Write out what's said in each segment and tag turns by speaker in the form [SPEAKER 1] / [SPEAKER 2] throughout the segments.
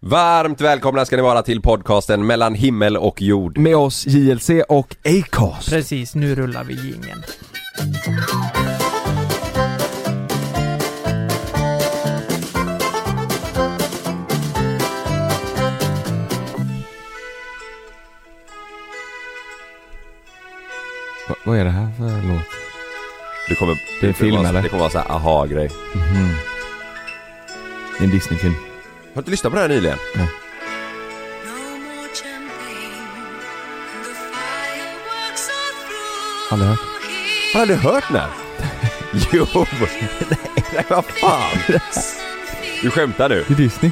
[SPEAKER 1] Varmt välkomna ska ni vara till podcasten mellan himmel och jord.
[SPEAKER 2] Med oss JLC och Acast.
[SPEAKER 3] Precis, nu rullar vi jingeln.
[SPEAKER 2] vad är det här för låt?
[SPEAKER 1] Det kommer,
[SPEAKER 2] Det är film,
[SPEAKER 1] kommer vara-
[SPEAKER 2] eller?
[SPEAKER 1] Det kommer vara såhär aha-grej.
[SPEAKER 2] Det är en Disney-film.
[SPEAKER 1] Har du inte lyssnat på det här nyligen?
[SPEAKER 2] Aldrig hört.
[SPEAKER 1] Har du aldrig hört den här? Jo! Nej, nej vad fan! Du skämtar nu?
[SPEAKER 2] Det är Disney.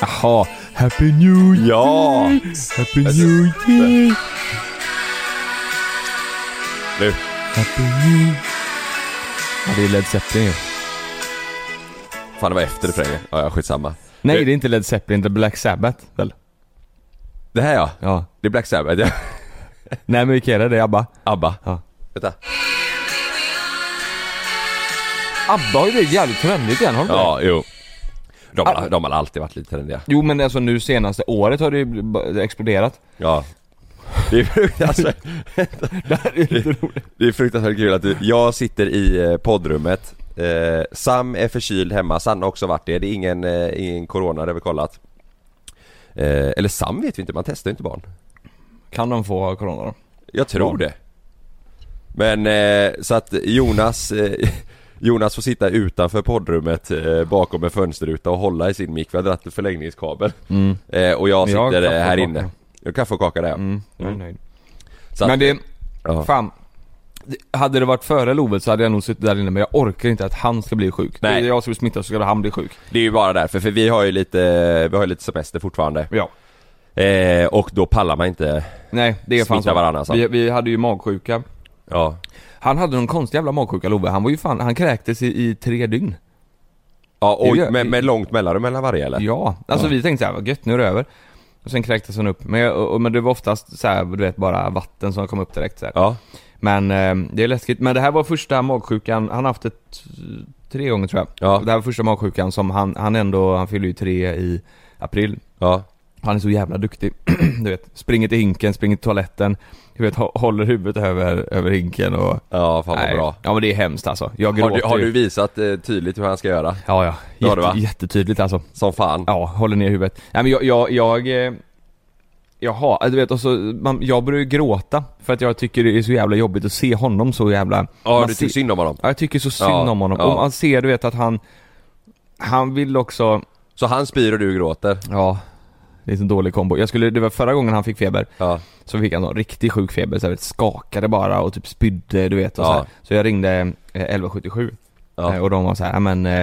[SPEAKER 2] Jaha. Happy New Year!
[SPEAKER 1] Ja!
[SPEAKER 2] Happy New Year!
[SPEAKER 1] Nu.
[SPEAKER 2] Happy New Year! Ja, det är Led Zeppelin ju.
[SPEAKER 1] Fan det var efter refrängen. Ja, ja skitsamma.
[SPEAKER 2] Nej, det är inte Led Zeppelin. Det är Black Sabbath, väl?
[SPEAKER 1] Det här ja.
[SPEAKER 2] Ja.
[SPEAKER 1] Det är Black Sabbath. Ja.
[SPEAKER 2] Nej, men vilka är det? Det är ABBA.
[SPEAKER 1] ABBA.
[SPEAKER 2] Ja.
[SPEAKER 1] Vänta.
[SPEAKER 2] ABBA har ju blivit jävligt trendigt igen, har de
[SPEAKER 1] Ja, jo. De har, de har alltid varit lite trendiga.
[SPEAKER 2] Jo, men alltså nu senaste året har det ju bl- b- exploderat.
[SPEAKER 1] Ja. Det är, frukt- alltså, det är fruktansvärt kul att du, jag sitter i eh, poddrummet eh, Sam är förkyld hemma, Sanna har också varit det, det är ingen, eh, ingen corona, det har vi kollat eh, Eller Sam vet vi inte, man testar ju inte barn
[SPEAKER 2] Kan de få corona då?
[SPEAKER 1] Jag tror det Men eh, så att Jonas eh, Jonas får sitta utanför poddrummet eh, bakom en fönsterruta och hålla i sin mick, vi har dragit en förlängningskabel eh, Och jag
[SPEAKER 2] Mm. Men jag har
[SPEAKER 1] sitter eh,
[SPEAKER 2] kaffe och
[SPEAKER 1] här inne
[SPEAKER 2] kaka.
[SPEAKER 1] Jag kaffe och kaka där ja.
[SPEAKER 2] Mm, jag är nöjd.
[SPEAKER 1] så att,
[SPEAKER 2] Men det...
[SPEAKER 1] ja.
[SPEAKER 2] Fan. Det- Hade det varit före Lovet så hade jag nog suttit där inne men jag orkar inte att han ska bli sjuk.
[SPEAKER 1] Nej.
[SPEAKER 2] När jag ska bli smittad så ska han bli sjuk.
[SPEAKER 1] Det är ju bara därför, för vi har ju lite, vi har ju lite semester fortfarande
[SPEAKER 2] Ja.
[SPEAKER 1] eh, Och då pallar man inte
[SPEAKER 2] Nej, det är fan
[SPEAKER 1] Smitta
[SPEAKER 2] så.
[SPEAKER 1] varandra, alltså.
[SPEAKER 2] vi, vi hade ju magsjuka.
[SPEAKER 1] Ja,
[SPEAKER 2] Han hade någon konstig jävla magsjuka Love. Han var ju fan, han kräktes i, i tre dygn.
[SPEAKER 1] ja
[SPEAKER 2] Det
[SPEAKER 1] oj,
[SPEAKER 2] gör-
[SPEAKER 1] med, med långt mellanrum mellan varje eller?
[SPEAKER 2] Ja. Alltså
[SPEAKER 1] Ja.
[SPEAKER 2] vi tänkte såhär, vad gött nu är det över. Och sen kräktes han upp. Men, jag, och, och- men det var oftast såhär, du vet bara vatten som kom upp direkt så här.
[SPEAKER 1] Ja,
[SPEAKER 2] Men eh, det är läskigt. Men det här var första magsjukan, han har haft ett tre gånger tror jag.
[SPEAKER 1] Ja.
[SPEAKER 2] Det här var första magsjukan som han, han ändå, han fyllde ju tre i april.
[SPEAKER 1] ja,
[SPEAKER 2] Han är så jävla duktig. du vet, springer till hinken, springer till toaletten. Du vet, hå- håller huvudet över, över hinken och...
[SPEAKER 1] ja fan vad bra
[SPEAKER 2] Ja men det är hemskt alltså. Jag
[SPEAKER 1] har
[SPEAKER 2] gråter
[SPEAKER 1] du, har
[SPEAKER 2] ju.
[SPEAKER 1] du visat eh, tydligt hur han ska göra?
[SPEAKER 2] Ja ja.
[SPEAKER 1] Det har du, va?
[SPEAKER 2] Jättetydligt alltså.
[SPEAKER 1] Som fan?
[SPEAKER 2] Ja, håller ner huvudet. Nej men jag, jag, jag... eh, Jaha, äh, du vet och så, man, jag börjar ju gråta för att jag tycker det är så jävla jobbigt att se honom så jävla...
[SPEAKER 1] Ja,
[SPEAKER 2] man
[SPEAKER 1] du
[SPEAKER 2] ser-
[SPEAKER 1] tycker synd om honom?
[SPEAKER 2] Ja, jag tycker så synd
[SPEAKER 1] Ja,
[SPEAKER 2] om honom.
[SPEAKER 1] ja.
[SPEAKER 2] Och man ser du vet att han... Han vill också...
[SPEAKER 1] Så han spyr och du gråter?
[SPEAKER 2] Ja. Det är en sån dålig kombo. Jag skulle, det var förra gången han fick feber.
[SPEAKER 1] Ja,
[SPEAKER 2] Så fick han sån riktig sjuk feber, så här, vet, skakade bara och typ spydde du vet och
[SPEAKER 1] Ja.
[SPEAKER 2] så, här. så jag ringde eh, 1177
[SPEAKER 1] Ja.
[SPEAKER 2] Eh, och de var så här, "Ja, men eh,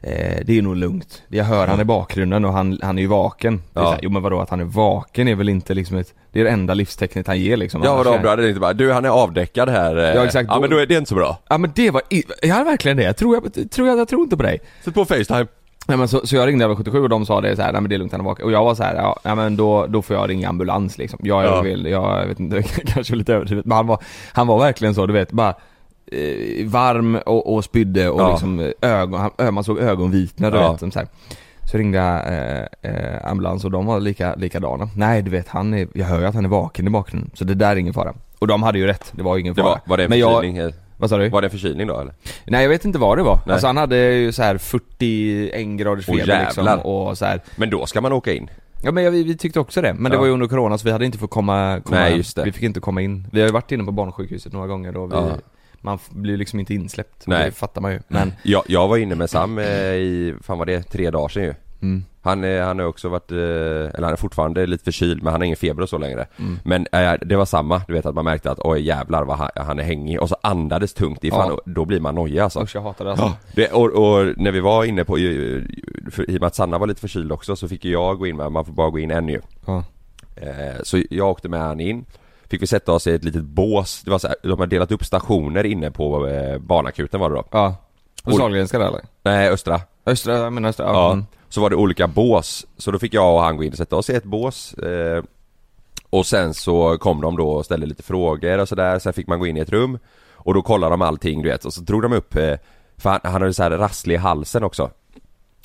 [SPEAKER 2] eh, det är nog lugnt. Jag hör han i bakgrunden och han, han är ju vaken. Det är
[SPEAKER 1] Ja.
[SPEAKER 2] så här, jo men vadå att han är vaken är väl inte liksom ett, det är det enda livstecknet han ger liksom.
[SPEAKER 1] ja
[SPEAKER 2] Annars
[SPEAKER 1] vadå
[SPEAKER 2] är-
[SPEAKER 1] du hade inte bara, du han är avdäckad här eh.
[SPEAKER 2] Ja, exakt.
[SPEAKER 1] Ja men då är det inte så bra
[SPEAKER 2] Ja men det var, i- är han verkligen det? Tror jag, tror jag, jag tror inte på dig.
[SPEAKER 1] Sätt på facetime
[SPEAKER 2] Nej men så, så jag ringde 77 och de sa det så här, nej men det är lugnt han är vaken. Och jag var så här, ja nej, men då, då får jag ringa ambulans liksom. Jag,
[SPEAKER 1] Ja.
[SPEAKER 2] jag vill, jag vet inte, kanske var lite överdrivet. Men han var, han var verkligen så du vet, bara eh, varm och, och spydde och
[SPEAKER 1] Ja.
[SPEAKER 2] liksom eh, ögon, han, ö- man såg ögonvitna du
[SPEAKER 1] Ja.
[SPEAKER 2] vet. Som så, här. så ringde jag eh, eh, ambulans och de var lika, likadana. Nej du vet han är, jag hör ju att han är vaken i bakgrunden. Så det där är ingen fara. Och de hade ju rätt, det var ingen
[SPEAKER 1] Det
[SPEAKER 2] fara.
[SPEAKER 1] var, var det en
[SPEAKER 2] men jag,
[SPEAKER 1] förkylning? eh?
[SPEAKER 2] vad sa du?
[SPEAKER 1] Var det en förkylning då eller?
[SPEAKER 2] Nej jag vet inte vad det var.
[SPEAKER 1] Nej.
[SPEAKER 2] Alltså han hade ju så här 41 graders
[SPEAKER 1] Åh,
[SPEAKER 2] feber liksom
[SPEAKER 1] jävlar.
[SPEAKER 2] och så här.
[SPEAKER 1] Men då ska man åka in?
[SPEAKER 2] Ja men jag, vi, vi tyckte också det, men det
[SPEAKER 1] Ja.
[SPEAKER 2] var ju under corona så vi hade inte fått komma, komma
[SPEAKER 1] Nej, just det.
[SPEAKER 2] vi fick inte komma in. Vi har ju varit inne på barnsjukhuset några gånger och vi,
[SPEAKER 1] Ja.
[SPEAKER 2] man f- blir liksom inte insläppt,
[SPEAKER 1] Nej.
[SPEAKER 2] det fattar man ju. Men,
[SPEAKER 1] Jag, jag var inne med Sam eh, i, fan var det, tre dagar sedan ju
[SPEAKER 2] mm.
[SPEAKER 1] Han, eh, han har också varit, eh, eller han är fortfarande lite förkyld men han har ingen feber och så längre
[SPEAKER 2] Mm.
[SPEAKER 1] Men eh, det var samma, du vet att man märkte att oj jävlar vad han, han är hängig och så andades tungt, ifall,
[SPEAKER 2] Ja.
[SPEAKER 1] då blir man nojig alltså
[SPEAKER 2] Usch jag hatar det alltså.
[SPEAKER 1] det, och, och när vi var inne på, ju- för, i och med att Sanna var lite förkyld också så fick ju jag gå in med, man får bara gå in en ju
[SPEAKER 2] Ja.
[SPEAKER 1] Eh, Så jag åkte med han in Fick vi sätta oss i ett litet bås, det var så här, de har delat upp stationer inne på eh, barnakuten var det då
[SPEAKER 2] ja. Och
[SPEAKER 1] Och-
[SPEAKER 2] Sahlgrenska där eller?
[SPEAKER 1] Nej, Östra
[SPEAKER 2] Östra, jag menar östra, ja.
[SPEAKER 1] Ja,
[SPEAKER 2] Mm.
[SPEAKER 1] så var det olika bås, så då fick jag och han gå in och sätta oss i ett bås eh, Och sen så kom de då och ställde lite frågor och sådär, sen fick man gå in i ett rum Och då kollade de allting du vet, och så drog de upp eh, För han, han hade så här rasslig i halsen också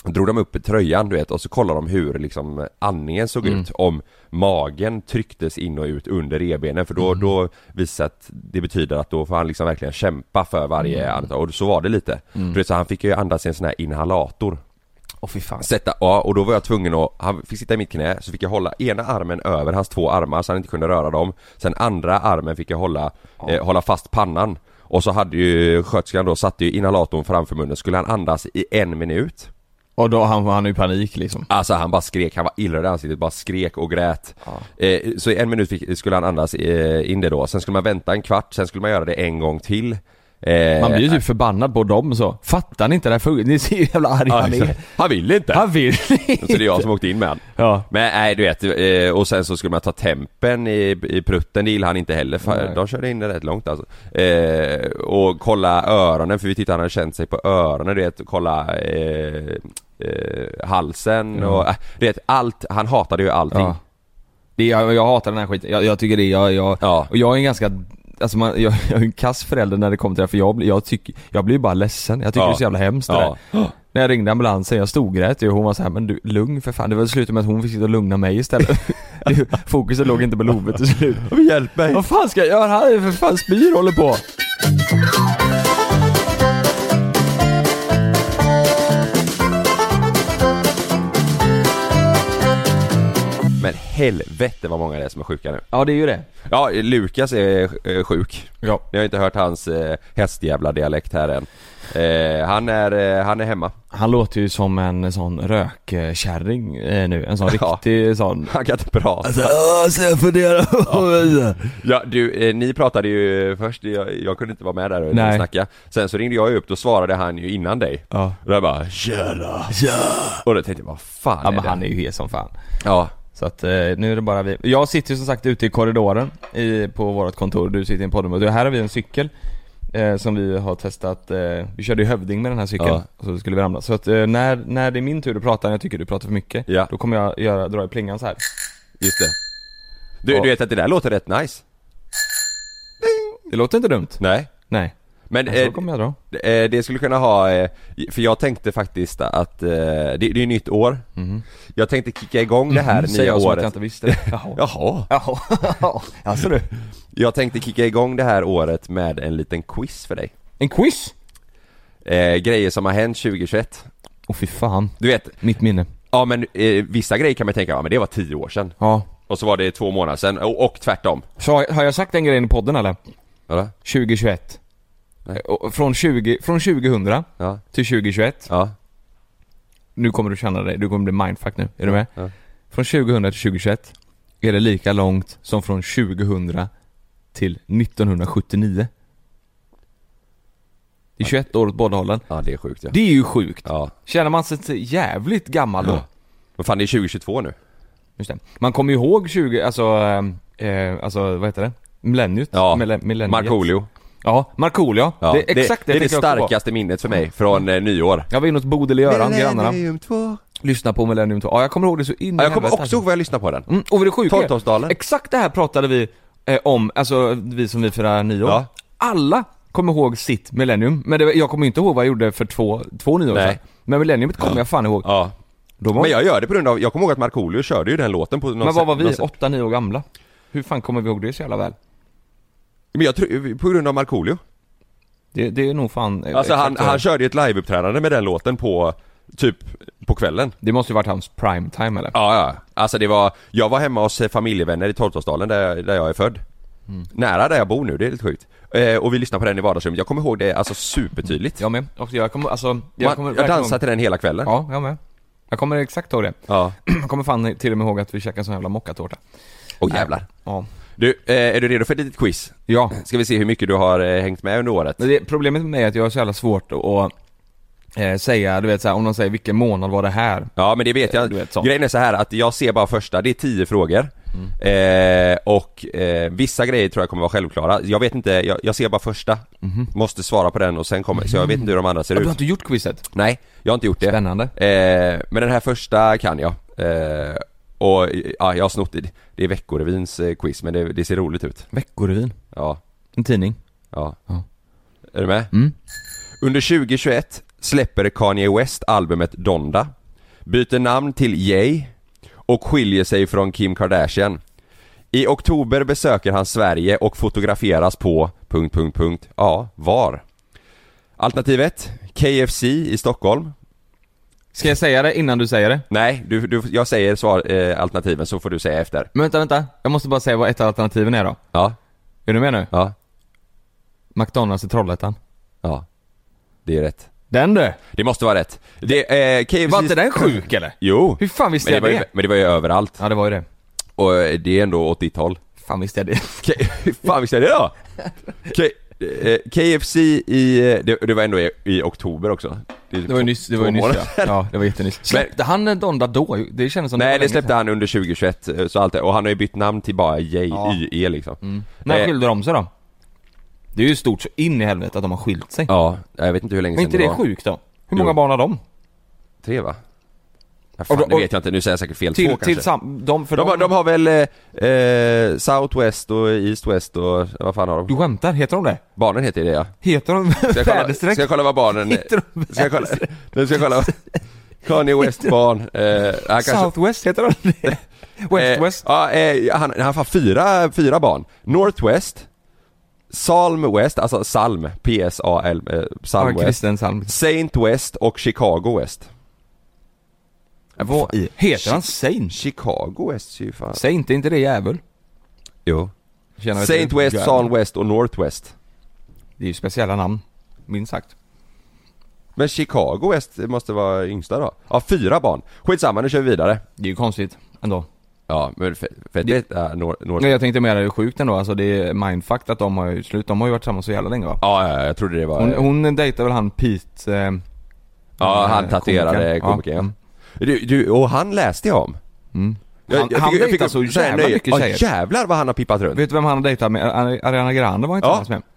[SPEAKER 1] Drog de upp tröjan du vet och så kollade de hur liksom andningen såg
[SPEAKER 2] Mm.
[SPEAKER 1] ut Om magen trycktes in och ut under revbenen för då,
[SPEAKER 2] Mm.
[SPEAKER 1] då visade att det betyder att då får han liksom verkligen kämpa för varje
[SPEAKER 2] Mm.
[SPEAKER 1] andetag och så var det lite du vet, så han fick ju andas i en sån här inhalator
[SPEAKER 2] Åh fy fan.
[SPEAKER 1] Sätta, ja och då var jag tvungen att, han fick sitta i mitt knä, så fick jag hålla ena armen över hans två armar så han inte kunde röra dem Sen andra armen fick jag hålla, eh, hålla fast pannan Och så hade ju sköterskan då, satte ju inhalatorn framför munnen, skulle han andas i en minut
[SPEAKER 2] Och då han, han är i panik liksom.
[SPEAKER 1] Alltså han bara skrek, han var illröd i ansiktet, bara skrek och grät eh, Så i en minut fick, skulle han andas eh, in det då, sen skulle man vänta en kvart, sen skulle man göra det en gång till Eh,
[SPEAKER 2] Man blir ju typ förbannad på dem så. Fattar ni inte det här fungerar? Ni ser ju hur jävla arg
[SPEAKER 1] ja,
[SPEAKER 2] han är.
[SPEAKER 1] exakt. han vill inte!
[SPEAKER 2] Han vill
[SPEAKER 1] Så det är jag som åkte in med han.
[SPEAKER 2] Ja.
[SPEAKER 1] Men nej du vet, eh, och sen så skulle man ta tempen i, i prutten, det gillade han inte heller för
[SPEAKER 2] Nej.
[SPEAKER 1] de körde in det rätt långt alltså. eh, Och kolla öronen, för vi tittade han hade känt sig på öronen du vet, och kolla eh, eh, halsen och, äh, du vet allt, han hatade ju allting.
[SPEAKER 2] Ja. Det, jag, jag hatar den här skiten, jag, jag tycker det, jag, jag,
[SPEAKER 1] Ja.
[SPEAKER 2] och jag är en ganska Alltså man, jag, jag är en kass förälder när det kommer till det här, för jag, blir- jag, tycker, jag blir ju bara ledsen, jag tycker
[SPEAKER 1] Ja.
[SPEAKER 2] det är så jävla hemskt det
[SPEAKER 1] Ja.
[SPEAKER 2] där. När jag ringde ambulansen, jag storgrät ju och hon var så här, men du lugn för fan, det var slutet med att hon fick sitta och lugna mig istället Det- Fokuset låg inte på lovet till slut
[SPEAKER 1] Hjälp mig!
[SPEAKER 2] Vad fan ska jag göra här? För fan spyr håller på
[SPEAKER 1] Men helvete vad många det är som är sjuka nu.
[SPEAKER 2] Ja det är ju det
[SPEAKER 1] Ja, Lukas är eh, sjuk.
[SPEAKER 2] Ja
[SPEAKER 1] Ni har inte hört hans eh, hästjävla dialekt här än. Eh, han, är, eh, han är hemma.
[SPEAKER 2] Han låter ju som en sån rökkärring eh, nu, en sån
[SPEAKER 1] Ja.
[SPEAKER 2] riktig sån
[SPEAKER 1] Han kan inte prata.
[SPEAKER 2] Alltså jag funderar
[SPEAKER 1] Ja, du, eh, ni pratade ju först, jag, jag kunde inte vara med där och
[SPEAKER 2] Nej.
[SPEAKER 1] snacka Sen så ringde jag ju upp, då svarade han ju innan dig
[SPEAKER 2] Ja
[SPEAKER 1] Och jag bara 'Tjena' Och då tänkte jag, vad fan
[SPEAKER 2] Ja
[SPEAKER 1] är
[SPEAKER 2] men
[SPEAKER 1] det?
[SPEAKER 2] han är ju hes som fan
[SPEAKER 1] Ja,
[SPEAKER 2] Så att eh, nu är det bara vi Jag sitter ju som sagt ute i korridoren i, på vårt kontor, du sitter i en poddrum och här har vi en cykel eh, Som vi har testat, eh, vi körde ju hövding med den här cykeln
[SPEAKER 1] Ja.
[SPEAKER 2] Så skulle vi ramla, så att eh, när, när det är min tur att prata, när jag tycker du pratar för mycket
[SPEAKER 1] Ja.
[SPEAKER 2] Då kommer jag göra, dra i plingan så här.
[SPEAKER 1] just det du,
[SPEAKER 2] Ja.
[SPEAKER 1] du vet att det där låter rätt nice?
[SPEAKER 2] Det låter inte dumt
[SPEAKER 1] Nej
[SPEAKER 2] Nej,
[SPEAKER 1] Men
[SPEAKER 2] så
[SPEAKER 1] eh,
[SPEAKER 2] kommer jag dra
[SPEAKER 1] eh, det skulle kunna ha, eh, för jag tänkte faktiskt att, eh, det, det är ju nytt år
[SPEAKER 2] Mhm.
[SPEAKER 1] Jag tänkte kicka igång det här
[SPEAKER 2] Säger
[SPEAKER 1] nya
[SPEAKER 2] jag Mhm, som att
[SPEAKER 1] året
[SPEAKER 2] jag inte visste det Jaha
[SPEAKER 1] Jaha,
[SPEAKER 2] Jaha, alltså du
[SPEAKER 1] jag tänkte kicka igång det här året med en liten quiz för dig
[SPEAKER 2] En quiz?
[SPEAKER 1] eh, Grejer som har hänt 2021
[SPEAKER 2] Åh fy fan,
[SPEAKER 1] Du vet,
[SPEAKER 2] mitt minne
[SPEAKER 1] Ja men eh, vissa grejer kan man tänka, ja men det var tio år sedan
[SPEAKER 2] Ja
[SPEAKER 1] Och så var det två månader sedan, och, och tvärtom
[SPEAKER 2] Så har- har jag sagt den grejen i podden eller?
[SPEAKER 1] Ja,
[SPEAKER 2] 2021
[SPEAKER 1] Nej.
[SPEAKER 2] Och Från, 20, från 2000
[SPEAKER 1] ja,
[SPEAKER 2] till 2021
[SPEAKER 1] ja,
[SPEAKER 2] Nu kommer du känna dig, du kommer bli mindfuck nu, är du med?
[SPEAKER 1] Ja.
[SPEAKER 2] Från 2000 till 2021 är det lika långt som från 2000 till 1979 Det är 21 år åt båda hållen
[SPEAKER 1] ja det är sjukt ja
[SPEAKER 2] Det är ju sjukt!
[SPEAKER 1] Ja,
[SPEAKER 2] Känner man sig inte jävligt gammal då?
[SPEAKER 1] Ja. men fan det är 2022 nu
[SPEAKER 2] Just det. Man kommer ju ihåg 20, alltså, ehm, eh, alltså vad heter det? Millenniet?
[SPEAKER 1] Ja.
[SPEAKER 2] Mille- millenniet.
[SPEAKER 1] Markoolio
[SPEAKER 2] Ja, Markoolio ja.
[SPEAKER 1] ja.
[SPEAKER 2] Det är exakt det,
[SPEAKER 1] Det är det
[SPEAKER 2] tänker jag också på. Mm.
[SPEAKER 1] starkaste minnet för mig från eh, nyår
[SPEAKER 2] Jag var inne hos Bodil i Göran, grannarna.
[SPEAKER 1] 2
[SPEAKER 2] Lyssna på Millennium 2. Ja, jag kommer ihåg det så in i
[SPEAKER 1] ja, Jag kommer
[SPEAKER 2] helvete,
[SPEAKER 1] också ihåg vad jag lyssnade på den
[SPEAKER 2] Mm, och vad det sjuka är,
[SPEAKER 1] Torrtorpsdalen
[SPEAKER 2] Exakt det här pratade vi eh, om, alltså vi som vi firar nyår.
[SPEAKER 1] Ja.
[SPEAKER 2] Alla kommer ihåg sitt millennium, men det, var- jag kommer inte ihåg vad jag gjorde för två, två nyår
[SPEAKER 1] Nej.
[SPEAKER 2] sedan. Men millenniumet kommer jag fan ihåg.
[SPEAKER 1] Ja
[SPEAKER 2] Då var,
[SPEAKER 1] Men jag gör det på grund av, jag kommer ihåg att Markoolio körde ju den låten på någon
[SPEAKER 2] men
[SPEAKER 1] sätt-
[SPEAKER 2] vad var vi?
[SPEAKER 1] någon sätt.
[SPEAKER 2] Åtta, nio år gamla? Hur fan kommer vi ihåg det så jävla väl?
[SPEAKER 1] Men jag tror, på grund av Markoolio
[SPEAKER 2] Det, det är nog fan... eh,
[SPEAKER 1] Alltså han,
[SPEAKER 2] exakt så.
[SPEAKER 1] han körde ju ett liveuppträdande med den låten på, typ, på kvällen
[SPEAKER 2] Det måste ju varit hans prime time eller?
[SPEAKER 1] Ja, ja. Alltså det var, jag var hemma hos eh, familjevänner i Torpsdalen där, där jag är född.
[SPEAKER 2] Mm.
[SPEAKER 1] Nära där jag bor nu, det är lite sjukt. Eh, och vi lyssnade på den i vardagsrummet, jag kommer ihåg det alltså supertydligt.
[SPEAKER 2] Jag med. Och jag kommer, alltså...
[SPEAKER 1] Jag,
[SPEAKER 2] kommer
[SPEAKER 1] Man, jag
[SPEAKER 2] verkligen
[SPEAKER 1] dansade till den hela kvällen.
[SPEAKER 2] ihåg- Ja, jag med. Jag kommer exakt ihåg det.
[SPEAKER 1] Ja.
[SPEAKER 2] Jag kommer fan till och med ihåg att vi käkade en sån jävla mockatårta.
[SPEAKER 1] Och jävlar.
[SPEAKER 2] Ja.
[SPEAKER 1] Du, eh, är du redo för ett litet quiz?
[SPEAKER 2] Ja.
[SPEAKER 1] Ska vi se hur mycket du har eh, hängt med under året?
[SPEAKER 2] Men Det, problemet med mig är att jag har så jävla svårt att- att eh, säga, du vet såhär, om någon säger vilken månad var det här?
[SPEAKER 1] Ja men det vet jag.
[SPEAKER 2] Du vet, Mm. sånt.
[SPEAKER 1] Grejen är så här att jag ser bara första, det är tio frågor. Eh, och eh, vissa grejer tror jag kommer vara självklara. Jag vet inte, jag, jag ser bara första. Måste svara på den och sen kommer, så jag vet inte hur de andra ser
[SPEAKER 2] Du
[SPEAKER 1] ut.
[SPEAKER 2] Mhm. Mm. har inte gjort quizet?
[SPEAKER 1] Nej, jag har inte gjort det.
[SPEAKER 2] Spännande.
[SPEAKER 1] Eh, men den här första kan jag. Eh, och eh, ja, jag har snott det. Det är Veckorevyns eh, quiz, men det, det ser roligt ut.
[SPEAKER 2] Veckorevyn.
[SPEAKER 1] Ja,
[SPEAKER 2] En tidning.
[SPEAKER 1] ja.
[SPEAKER 2] Ja.
[SPEAKER 1] Är du med?
[SPEAKER 2] Mm.
[SPEAKER 1] Under 2021 släpper Kanye West albumet Donda, byter namn till Ye och skiljer sig från Kim Kardashian. I oktober besöker han Sverige och fotograferas på... Punkt, punkt, punkt. Ja, var? Alternativ 1. KFC i Stockholm.
[SPEAKER 2] Ska jag säga det innan du säger det?
[SPEAKER 1] Nej, du, du, jag säger svar, eh, alternativen så får du säga efter.
[SPEAKER 2] Men vänta, vänta. Jag måste bara säga vad ett av alternativen är då.
[SPEAKER 1] Ja,
[SPEAKER 2] Är du med nu?
[SPEAKER 1] ja,
[SPEAKER 2] McDonalds i Trollhättan.
[SPEAKER 1] ja. Det är rätt.
[SPEAKER 2] Den du!
[SPEAKER 1] Det måste vara rätt. Det, eh, KFC...
[SPEAKER 2] Var inte den sjuk eller?
[SPEAKER 1] Jo.
[SPEAKER 2] Hur fan visste
[SPEAKER 1] Men det,
[SPEAKER 2] jag
[SPEAKER 1] var ju,
[SPEAKER 2] det?
[SPEAKER 1] men det var ju överallt.
[SPEAKER 2] Ja det var ju det.
[SPEAKER 1] Och eh, det är ändå åt ditt håll.
[SPEAKER 2] Fan visste jag det?
[SPEAKER 1] K- Hur fan visste jag det då? K- eh, KFC i... eh, Det, det var ändå i, i oktober också. är
[SPEAKER 2] Det var ju
[SPEAKER 1] två-
[SPEAKER 2] nyss, det var
[SPEAKER 1] två
[SPEAKER 2] ju nyss
[SPEAKER 1] månader.
[SPEAKER 2] ja. ja. det var jättenyss. Släppte han Donda då? Det kändes som
[SPEAKER 1] Nej
[SPEAKER 2] var
[SPEAKER 1] det
[SPEAKER 2] länge
[SPEAKER 1] släppte
[SPEAKER 2] sedan.
[SPEAKER 1] han under 2021, eh, så allt det, och han har ju bytt namn till bara J,
[SPEAKER 2] Ja. Mm.
[SPEAKER 1] YE liksom.
[SPEAKER 2] När
[SPEAKER 1] Eh,
[SPEAKER 2] skilde de sig då? Det är ju stort så in i helvete att de har skilt sig.
[SPEAKER 1] Ja, jag vet inte hur länge
[SPEAKER 2] Men
[SPEAKER 1] sedan
[SPEAKER 2] inte
[SPEAKER 1] det
[SPEAKER 2] det
[SPEAKER 1] var.
[SPEAKER 2] sjukt då? Hur
[SPEAKER 1] Jo.
[SPEAKER 2] många barn har de?
[SPEAKER 1] Tre va? Ja, fan,
[SPEAKER 2] Och då-
[SPEAKER 1] det
[SPEAKER 2] och-
[SPEAKER 1] vet jag inte, nu säger jag säkert fel. Två
[SPEAKER 2] Till,
[SPEAKER 1] kanske.
[SPEAKER 2] till sam, de, för
[SPEAKER 1] de, har- de har väl eh, eh, South West och East West och vad fan har de?
[SPEAKER 2] Du skämtar? Heter de det?
[SPEAKER 1] Barnen heter det ja.
[SPEAKER 2] Heter de
[SPEAKER 1] Ska jag kolla, ska
[SPEAKER 2] väderstreck?
[SPEAKER 1] jag kolla vad barnen...
[SPEAKER 2] Heter de
[SPEAKER 1] Ska jag kolla? Nu ska jag kolla. Kanye West barn. Eh, han kanske...
[SPEAKER 2] Southwest heter de det? West
[SPEAKER 1] eh,
[SPEAKER 2] West?
[SPEAKER 1] Ja, eh, han, han har fan fyra, fyra barn. Northwest, Salm West, alltså Salm, P-S-A-L, eh, Salm
[SPEAKER 2] Ja,
[SPEAKER 1] West.
[SPEAKER 2] Kristen Salm.
[SPEAKER 1] Saint West och Chicago West.
[SPEAKER 2] Vad i- Heter han Saint?
[SPEAKER 1] Chicago West är ju fan...
[SPEAKER 2] Saint, är inte det jävel?
[SPEAKER 1] Jo.
[SPEAKER 2] Tjena, vet
[SPEAKER 1] Saint
[SPEAKER 2] du,
[SPEAKER 1] West,
[SPEAKER 2] jävel.
[SPEAKER 1] Salm West och Northwest.
[SPEAKER 2] Det är ju speciella namn, minst sagt.
[SPEAKER 1] Men Chicago West måste vara yngsta då? Ja, fyra barn. Skitsamma, nu kör vi vidare.
[SPEAKER 2] Det är ju konstigt ändå.
[SPEAKER 1] Ja, men för, för det är North... North-
[SPEAKER 2] Nej, jag tänkte mer det är sjukt ändå, alltså det är mindfucked att de har ju slut. De har ju varit tillsammans så jävla länge va?
[SPEAKER 1] Ja, ja, jag trodde det var...
[SPEAKER 2] Hon, hon dejtar väl han Pete... Eh,
[SPEAKER 1] ja,
[SPEAKER 2] eh,
[SPEAKER 1] han tatuerade komikern ja.
[SPEAKER 2] Mm.
[SPEAKER 1] Du, du, och han läste jag om.
[SPEAKER 2] Han- han dejtar så
[SPEAKER 1] här
[SPEAKER 2] jävla
[SPEAKER 1] nöje.
[SPEAKER 2] mycket tjejer.
[SPEAKER 1] Ja, jävlar vad han har pippat runt.
[SPEAKER 2] Vet du vem han dejtade med? Ari- Ariana Grande var inte
[SPEAKER 1] Ja.
[SPEAKER 2] tillsammans med.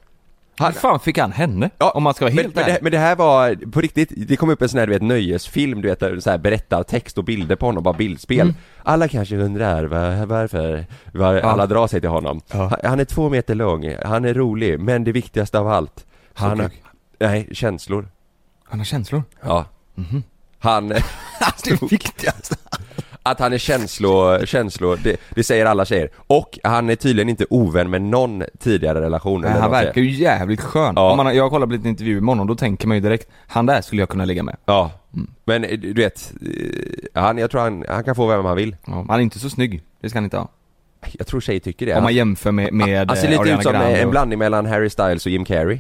[SPEAKER 1] Han-
[SPEAKER 2] Hur fan fick han henne?
[SPEAKER 1] Ja,
[SPEAKER 2] om man ska vara
[SPEAKER 1] men,
[SPEAKER 2] helt
[SPEAKER 1] men, det,
[SPEAKER 2] ärlig.
[SPEAKER 1] men det här var, på riktigt, det kom upp en sån här du vet nöjesfilm du vet, där så här berättar text och bilder på honom, bara bildspel
[SPEAKER 2] Mm.
[SPEAKER 1] Alla kanske undrar va- varför, var, alla drar sig till honom han, han är två meter lång, han är rolig, men det viktigaste av allt Han har,
[SPEAKER 2] kuk.
[SPEAKER 1] nej, känslor
[SPEAKER 2] Han har känslor.
[SPEAKER 1] Ja Han,
[SPEAKER 2] Mhm. det viktigaste.
[SPEAKER 1] att han är känslo, känslo det, det säger alla tjejer Och han är tydligen inte ovän med någon tidigare relation
[SPEAKER 2] Nej,
[SPEAKER 1] eller
[SPEAKER 2] han
[SPEAKER 1] vad man
[SPEAKER 2] verkar
[SPEAKER 1] säger.
[SPEAKER 2] ju jävligt skön.
[SPEAKER 1] Ja.
[SPEAKER 2] Om man, har- jag har kollat på lite intervjuer med honom, då tänker man ju direkt, han där skulle jag kunna ligga med.
[SPEAKER 1] Ja, men eh, du vet, eh, han, jag tror han, han kan få vem han vill
[SPEAKER 2] Ja. Han är inte så snygg, det ska han inte ha.
[SPEAKER 1] Jag tror tjejer tycker det
[SPEAKER 2] Om man jämför med, med
[SPEAKER 1] Han ser
[SPEAKER 2] eh,
[SPEAKER 1] Alltså, lite
[SPEAKER 2] Ariana
[SPEAKER 1] ut som
[SPEAKER 2] Grande
[SPEAKER 1] en
[SPEAKER 2] och-
[SPEAKER 1] blandning mellan Harry Styles och Jim Carrey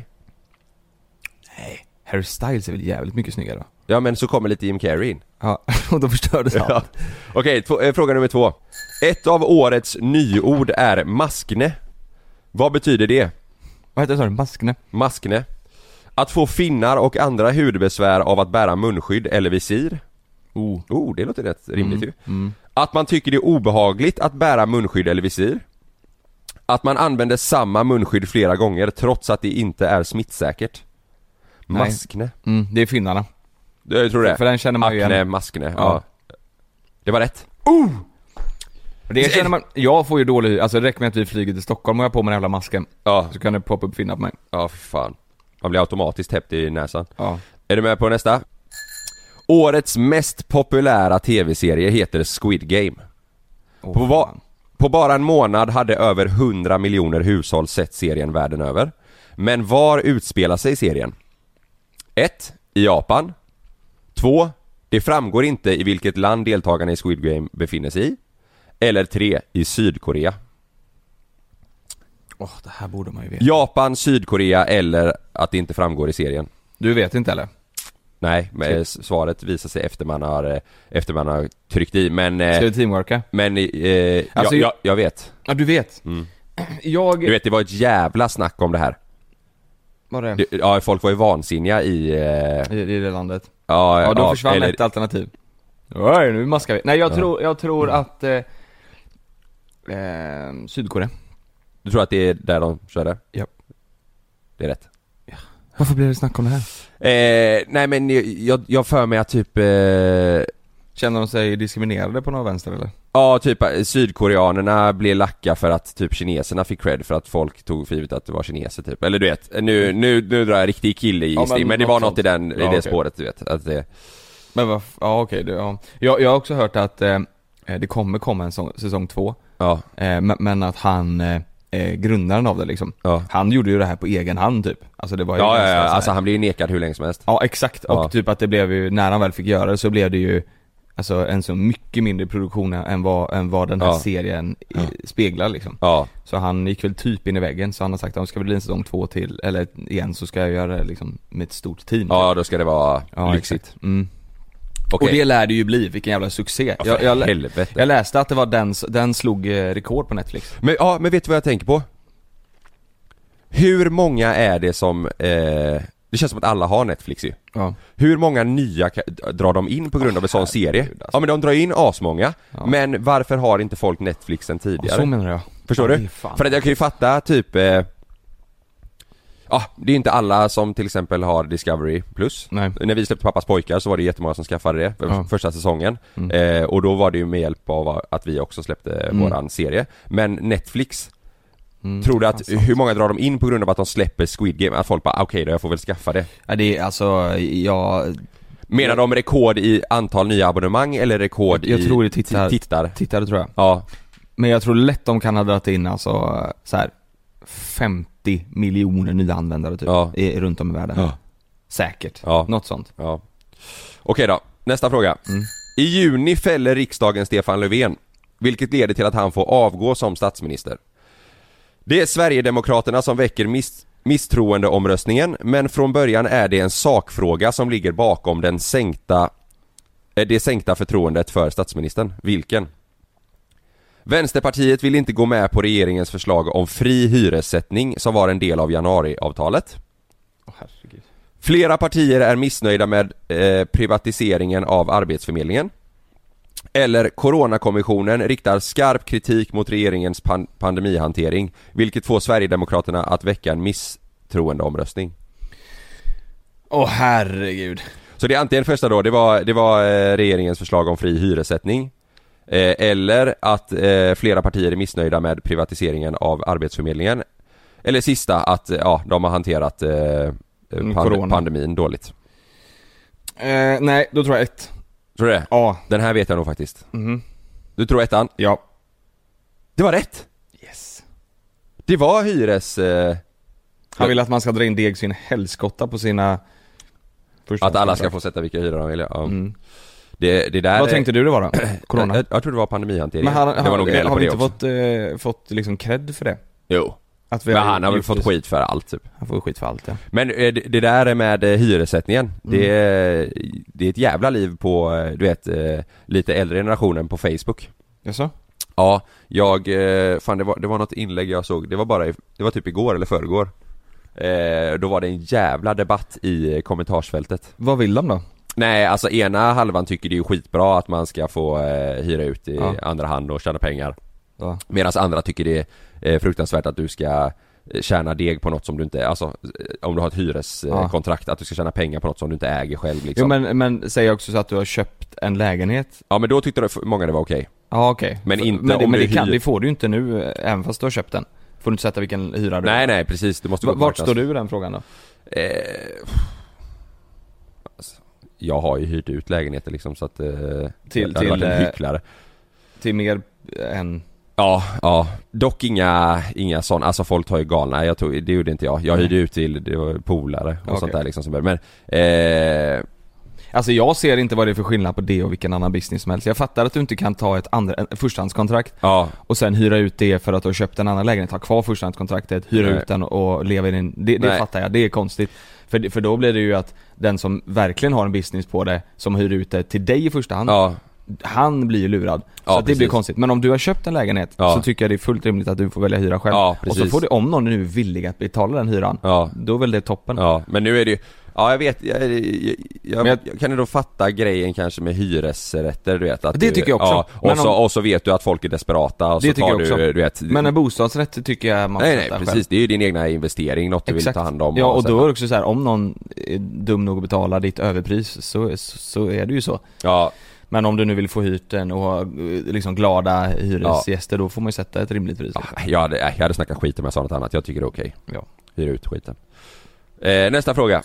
[SPEAKER 2] Harry Styles är väl jävligt mycket snyggare va?
[SPEAKER 1] Ja men så kommer lite Jim Carrey in
[SPEAKER 2] Ja, och då förstördes allt.
[SPEAKER 1] ja. Okej, två- eh, fråga nummer två Ett av årets nyord är maskne Vad betyder det?
[SPEAKER 2] Vad heter det sa du? Maskne?
[SPEAKER 1] Maskne Att få finnar och andra hudbesvär av att bära munskydd eller visir
[SPEAKER 2] Oh. Mm,
[SPEAKER 1] Oh, det låter rätt rimligt ju Att man tycker det är obehagligt att bära munskydd eller visir Att man använder samma munskydd flera gånger trots att det inte är smittsäkert
[SPEAKER 2] Nej.
[SPEAKER 1] Maskne
[SPEAKER 2] Mm, det är finnarna.
[SPEAKER 1] Jag tror det.
[SPEAKER 2] För den känner man ju
[SPEAKER 1] Akne,
[SPEAKER 2] igen.
[SPEAKER 1] maskne. Ja.
[SPEAKER 2] Ja.
[SPEAKER 1] Det var rätt.
[SPEAKER 2] Det känner man, jag får ju dålig, alltså det räcker med att vi flyger till Stockholm och jag har på mig den jävla masken.
[SPEAKER 1] Ja,
[SPEAKER 2] Så kan det poppa upp finnar på mig.
[SPEAKER 1] ja för fan. Man blir automatiskt täppt i näsan.
[SPEAKER 2] Ja.
[SPEAKER 1] Är du med på nästa? Årets mest populära tv-serie heter Squid Game.
[SPEAKER 2] Åh,
[SPEAKER 1] På, va-
[SPEAKER 2] fan.
[SPEAKER 1] på bara en månad hade över 100 miljoner hushåll sett serien världen över. Men var utspelar sig serien? 1. I Japan. 2. Det framgår inte i vilket land deltagarna i Squid Game befinner sig i. Eller 3. I Sydkorea.
[SPEAKER 2] Åh, det här borde man ju veta.
[SPEAKER 1] Japan, Sydkorea eller att det inte framgår i serien.
[SPEAKER 2] Du vet inte eller?
[SPEAKER 1] Nej, men eh, svaret visar sig efter man har, eh, efter man har tryckt i, men, eh,
[SPEAKER 2] Ska vi teamworka?
[SPEAKER 1] men eh, jag,
[SPEAKER 2] Alltså,
[SPEAKER 1] jag, jag vet.
[SPEAKER 2] Ja, du vet. Jag...
[SPEAKER 1] Du vet, det var ett jävla snack om det här.
[SPEAKER 2] Var det?
[SPEAKER 1] Det- Ja, folk var ju vansinniga i... eh,
[SPEAKER 2] I, I det landet.
[SPEAKER 1] Ja,
[SPEAKER 2] Ja, då
[SPEAKER 1] ja,
[SPEAKER 2] försvann
[SPEAKER 1] eller-
[SPEAKER 2] ett alternativ. Oj, nu maskar vi. Nej, jag, tror, jag tror att... Eh, eh, Sydkorea.
[SPEAKER 1] Du tror att det är där de körde?
[SPEAKER 2] Ja.
[SPEAKER 1] Det är rätt.
[SPEAKER 2] Varför blir det snack om det här?
[SPEAKER 1] Eh, nej men jag, jag, jag för mig att typ eh,
[SPEAKER 2] Känner de sig diskriminerade på någon vänster eller?
[SPEAKER 1] Ja, typ eh, sydkoreanerna blev lacka för att typ kineserna fick cred för att folk tog för givet att det var kineser typ. Eller du vet, nu, nu, nu drar jag riktig kille i
[SPEAKER 2] Ja, men
[SPEAKER 1] men, men det
[SPEAKER 2] något
[SPEAKER 1] var något
[SPEAKER 2] sånt.
[SPEAKER 1] i, den, i
[SPEAKER 2] Ja,
[SPEAKER 1] det
[SPEAKER 2] okej.
[SPEAKER 1] spåret du vet. Att det,
[SPEAKER 2] Men vad, f- ja okej, det, ja. Jag, jag har också hört att eh, det kommer komma en sång, säsong två,
[SPEAKER 1] ja,
[SPEAKER 2] eh, men, men att han, eh, eh, grundaren av det liksom,
[SPEAKER 1] ja.
[SPEAKER 2] han gjorde ju det här på egen hand typ. Alltså det var ju
[SPEAKER 1] Ja, ja,
[SPEAKER 2] ganska
[SPEAKER 1] ja.
[SPEAKER 2] så här-
[SPEAKER 1] alltså han blir ju nekad hur länge som helst.
[SPEAKER 2] Ja exakt, och
[SPEAKER 1] Ja.
[SPEAKER 2] typ att det blev ju, när han väl fick göra det så blev det ju Alltså en så mycket mindre produktion än vad, än vad den här
[SPEAKER 1] Ja.
[SPEAKER 2] serien i, speglar liksom
[SPEAKER 1] Ja,
[SPEAKER 2] Så han gick väl typ in i väggen, så han har sagt att ska det bli en säsong två till, eller igen, så ska jag göra det liksom med ett stort team
[SPEAKER 1] ja då ska det vara
[SPEAKER 2] Ja,
[SPEAKER 1] lyxigt.
[SPEAKER 2] exakt. Mm.
[SPEAKER 1] Okej.
[SPEAKER 2] Och det lär det ju bli, vilken jävla succé
[SPEAKER 1] Ja,
[SPEAKER 2] jag,
[SPEAKER 1] för
[SPEAKER 2] jag, lä-
[SPEAKER 1] helvete.
[SPEAKER 2] jag läste att det var den, s- den slog eh, rekord på Netflix
[SPEAKER 1] Men ja, men vet du vad jag tänker på? Hur många är det som, eh, det känns som att alla har Netflix ju.
[SPEAKER 2] Ja,
[SPEAKER 1] Hur många nya ka- drar de in på grund av en sån serie?
[SPEAKER 2] alltså.
[SPEAKER 1] Ja men de drar in asmånga,
[SPEAKER 2] Ja.
[SPEAKER 1] men varför har inte folk Netflix sen tidigare?
[SPEAKER 2] så menar jag
[SPEAKER 1] Förstår
[SPEAKER 2] Ja, det
[SPEAKER 1] du?
[SPEAKER 2] är fan.
[SPEAKER 1] För att jag kan ju fatta typ eh, Ja, det är inte alla som till exempel har Discovery plus.
[SPEAKER 2] Nej.
[SPEAKER 1] När vi släppte Pappas pojkar så var det jättemånga som skaffade det för
[SPEAKER 2] Ja. Mm.
[SPEAKER 1] första säsongen. Eh, och då var det ju med hjälp av att vi också släppte våran serie. Men Netflix,
[SPEAKER 2] Mm.
[SPEAKER 1] tror du att,
[SPEAKER 2] Fan, sant.
[SPEAKER 1] hur många drar de in på grund av att de släpper Squid Game? Att folk bara "Ah, okej då, jag får väl skaffa det.
[SPEAKER 2] Ja det är alltså, jag
[SPEAKER 1] Menar de rekord i antal nya abonnemang eller rekord
[SPEAKER 2] Jag
[SPEAKER 1] i
[SPEAKER 2] tror det tittar-
[SPEAKER 1] tittar?
[SPEAKER 2] tittade tror jag
[SPEAKER 1] Ja,
[SPEAKER 2] Men jag tror lätt de kan ha dragit in alltså så här 50 miljoner nya användare typ,
[SPEAKER 1] Ja.
[SPEAKER 2] i, runt om i världen.
[SPEAKER 1] Ja.
[SPEAKER 2] Säkert.
[SPEAKER 1] Ja.
[SPEAKER 2] Något sånt.
[SPEAKER 1] ja. Okej då, nästa fråga. I juni fäller riksdagen Stefan Löfven, vilket leder till att han får avgå som statsminister. Det är Sverigedemokraterna som väcker miss misstroendeomröstningen, men från början är det en sakfråga som ligger bakom den sänkta, eh, det sänkta förtroendet för statsministern. Vilken? Vänsterpartiet vill inte gå med på regeringens förslag om fri hyressättning som var en del av januariavtalet.
[SPEAKER 2] herregud.
[SPEAKER 1] Flera partier är missnöjda med eh, privatiseringen av Arbetsförmedlingen. Eller Coronakommissionen riktar skarp kritik mot regeringens pan- pandemihantering, vilket får Sverigedemokraterna att väcka en misstroendeomröstning.
[SPEAKER 2] Åh herregud.
[SPEAKER 1] Så det är antingen första då, det var, det var eh, regeringens förslag om fri hyressättning. Eh, eller att eh, flera partier är missnöjda med privatiseringen av Arbetsförmedlingen. Eller sista, att eh, ja, de har hanterat eh, pand-
[SPEAKER 2] corona.
[SPEAKER 1] pandemin dåligt.
[SPEAKER 2] Eh, nej, då tror jag ett.
[SPEAKER 1] Tror du det?
[SPEAKER 2] Ja.
[SPEAKER 1] Den här vet jag nog faktiskt.
[SPEAKER 2] Mhm.
[SPEAKER 1] Du tror ettan?
[SPEAKER 2] Ja.
[SPEAKER 1] Det var rätt!
[SPEAKER 2] Yes.
[SPEAKER 1] Det var hyres... Eh,
[SPEAKER 2] Han vill att man ska dra in deg sin helskotta på sina... första-
[SPEAKER 1] att alla ska få sätta vilka hyror de vill. Ja.
[SPEAKER 2] Mm.
[SPEAKER 1] Det, det där...
[SPEAKER 2] Vad tänkte du det var då? Corona?
[SPEAKER 1] Jag, jag tror det var pandemihantering.
[SPEAKER 2] Men han, han,
[SPEAKER 1] det var nog en del
[SPEAKER 2] har
[SPEAKER 1] på
[SPEAKER 2] vi
[SPEAKER 1] det
[SPEAKER 2] inte
[SPEAKER 1] också.
[SPEAKER 2] fått, eh, fått liksom cred för det?
[SPEAKER 1] Jo.
[SPEAKER 2] Att vi
[SPEAKER 1] Men han har väl
[SPEAKER 2] gjort
[SPEAKER 1] fått
[SPEAKER 2] det-
[SPEAKER 1] skit för allt typ.
[SPEAKER 2] Han får skit för allt ja.
[SPEAKER 1] Men eh, det det där med eh, hyressättningen, det,
[SPEAKER 2] Mm.
[SPEAKER 1] är- det är ett jävla liv på, eh, du vet, eh, lite äldre generationen på Facebook.
[SPEAKER 2] Jaså?
[SPEAKER 1] Ja, jag, eh, fan det var, det var något inlägg jag såg, det var bara, i, det var typ igår eller förrgår. Eh, då var det en jävla debatt i eh, kommentarsfältet.
[SPEAKER 2] Vad vill de då?
[SPEAKER 1] Nej, alltså ena halvan tycker det är skitbra att man ska få eh, hyra ut i
[SPEAKER 2] Ja.
[SPEAKER 1] andra hand och tjäna pengar.
[SPEAKER 2] Ja.
[SPEAKER 1] Medan andra tycker det är eh, fruktansvärt att du ska eh, tjäna deg på något som du inte, alltså eh, om du har ett
[SPEAKER 2] Ja.
[SPEAKER 1] hyreskontrakt, att du ska tjäna pengar på något som du inte äger själv liksom.
[SPEAKER 2] Jo men, men säg också så att du har köpt en lägenhet
[SPEAKER 1] Ja men då tyckte det- många det var okej.
[SPEAKER 2] Ja okej.
[SPEAKER 1] Men
[SPEAKER 2] För-
[SPEAKER 1] inte
[SPEAKER 2] men, det-
[SPEAKER 1] om
[SPEAKER 2] men
[SPEAKER 1] du
[SPEAKER 2] det, kan,
[SPEAKER 1] hyr-
[SPEAKER 2] det får du ju inte nu, eh, även fast du har köpt den. Får du inte sätta vilken hyra du
[SPEAKER 1] Nej nej precis, du måste
[SPEAKER 2] V-
[SPEAKER 1] på
[SPEAKER 2] Vart
[SPEAKER 1] marknads-
[SPEAKER 2] står du i den frågan då?
[SPEAKER 1] Eh, alltså, jag har ju hyrt ut lägenheter liksom så att... Eh, jag hade
[SPEAKER 2] till,
[SPEAKER 1] varit en
[SPEAKER 2] eh,
[SPEAKER 1] hycklare.
[SPEAKER 2] Till mer än...
[SPEAKER 1] Ja, ja. Dock inga, inga sådana, alltså folk tar ju galna, jag tog, det gjorde inte jag. Jag hyrde ut till det var polare och
[SPEAKER 2] Okej.
[SPEAKER 1] sånt där liksom som började. Men, eh,
[SPEAKER 2] Alltså jag ser inte vad det är för skillnad på det och vilken annan business som helst. Jag fattar att du inte kan ta ett andra, en- förstahandskontrakt
[SPEAKER 1] ja.
[SPEAKER 2] och sen hyra ut det för att du har köpt en annan lägenhet, ha kvar förstahandskontraktet, hyra
[SPEAKER 1] Nej.
[SPEAKER 2] ut den och leva i din... Det, det
[SPEAKER 1] Nej.
[SPEAKER 2] fattar jag, det är konstigt. För, det- för då blir det ju att den som verkligen har en business på det, som hyr ut det till dig i första hand,
[SPEAKER 1] Ja,
[SPEAKER 2] han blir ju lurad.
[SPEAKER 1] Ja,
[SPEAKER 2] så att det blir
[SPEAKER 1] precis.
[SPEAKER 2] konstigt. Men om du har köpt en lägenhet
[SPEAKER 1] Ja.
[SPEAKER 2] så tycker jag det är fullt rimligt att du får välja hyra själv.
[SPEAKER 1] Ja,
[SPEAKER 2] och
[SPEAKER 1] precis.
[SPEAKER 2] så får du, om någon nu är villig att betala den hyran,
[SPEAKER 1] ja.
[SPEAKER 2] då är väl det toppen.
[SPEAKER 1] Ja, men nu är det ju Ja jag vet, jag, jag, jag,
[SPEAKER 2] Men jag-
[SPEAKER 1] jag kan ändå fatta grejen kanske med hyresrätter du vet att
[SPEAKER 2] Det
[SPEAKER 1] du,
[SPEAKER 2] tycker jag också.
[SPEAKER 1] ja, och,
[SPEAKER 2] Men
[SPEAKER 1] så,
[SPEAKER 2] om-
[SPEAKER 1] och så vet du att folk är desperata och
[SPEAKER 2] Det
[SPEAKER 1] så
[SPEAKER 2] tycker
[SPEAKER 1] tar
[SPEAKER 2] jag
[SPEAKER 1] du,
[SPEAKER 2] också.
[SPEAKER 1] du vet
[SPEAKER 2] Men en bostadsrätt tycker jag man får
[SPEAKER 1] Nej nej
[SPEAKER 2] sätta
[SPEAKER 1] precis,
[SPEAKER 2] själv.
[SPEAKER 1] det är ju din egna investering, något du vill ta hand om
[SPEAKER 2] ja och
[SPEAKER 1] sen-
[SPEAKER 2] då är det också så här, om någon är dum nog att betala ditt överpris så, så, så är det ju så.
[SPEAKER 1] Ja,
[SPEAKER 2] Men om du nu vill få hyrt den och ha eh, liksom glada hyresgäster, då får man ju sätta ett rimligt pris.
[SPEAKER 1] Ja, jag, hade, äh, jag hade snackat skit om jag sa något annat, jag tycker det är okej.
[SPEAKER 2] Ja.
[SPEAKER 1] Hyra ut skiten. Eh, nästa fråga.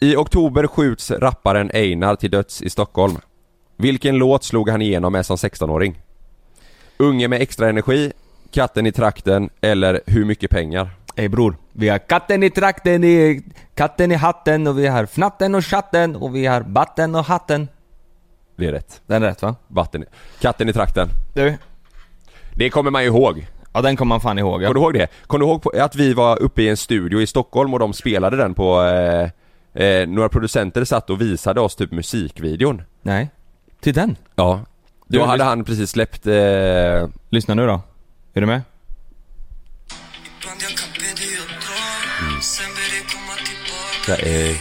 [SPEAKER 1] I oktober skjuts rapparen Einar till döds i Stockholm. Vilken låt slog han igenom med som 16-åring? Unge med extra energi, Katten i trakten eller Hur mycket pengar?
[SPEAKER 2] Ey bror, vi har katten i trakten, i, katten i hatten och vi har fnatten och chatten och vi har batten och hatten.
[SPEAKER 1] Det är rätt.
[SPEAKER 2] Den är rätt va?
[SPEAKER 1] Vatten i, katten i trakten.
[SPEAKER 2] Du?
[SPEAKER 1] Det kommer man ju ihåg.
[SPEAKER 2] Ja den kommer man fan ihåg ja.
[SPEAKER 1] Kommer du ihåg det? Kommer du ihåg på- att vi var uppe i en studio i Stockholm och de spelade den på... Eh, eh, några producenter satt och visade oss typ musikvideon.
[SPEAKER 2] Nej. Till den.
[SPEAKER 1] Ja. Då
[SPEAKER 2] Du,
[SPEAKER 1] hade
[SPEAKER 2] visst-
[SPEAKER 1] han precis släppt... Eh,
[SPEAKER 2] Lyssna nu då. Är du med?
[SPEAKER 4] Ibland jag kan be dig att dra Sen ber dig komma tillbaka
[SPEAKER 1] där, eh,
[SPEAKER 4] Ingen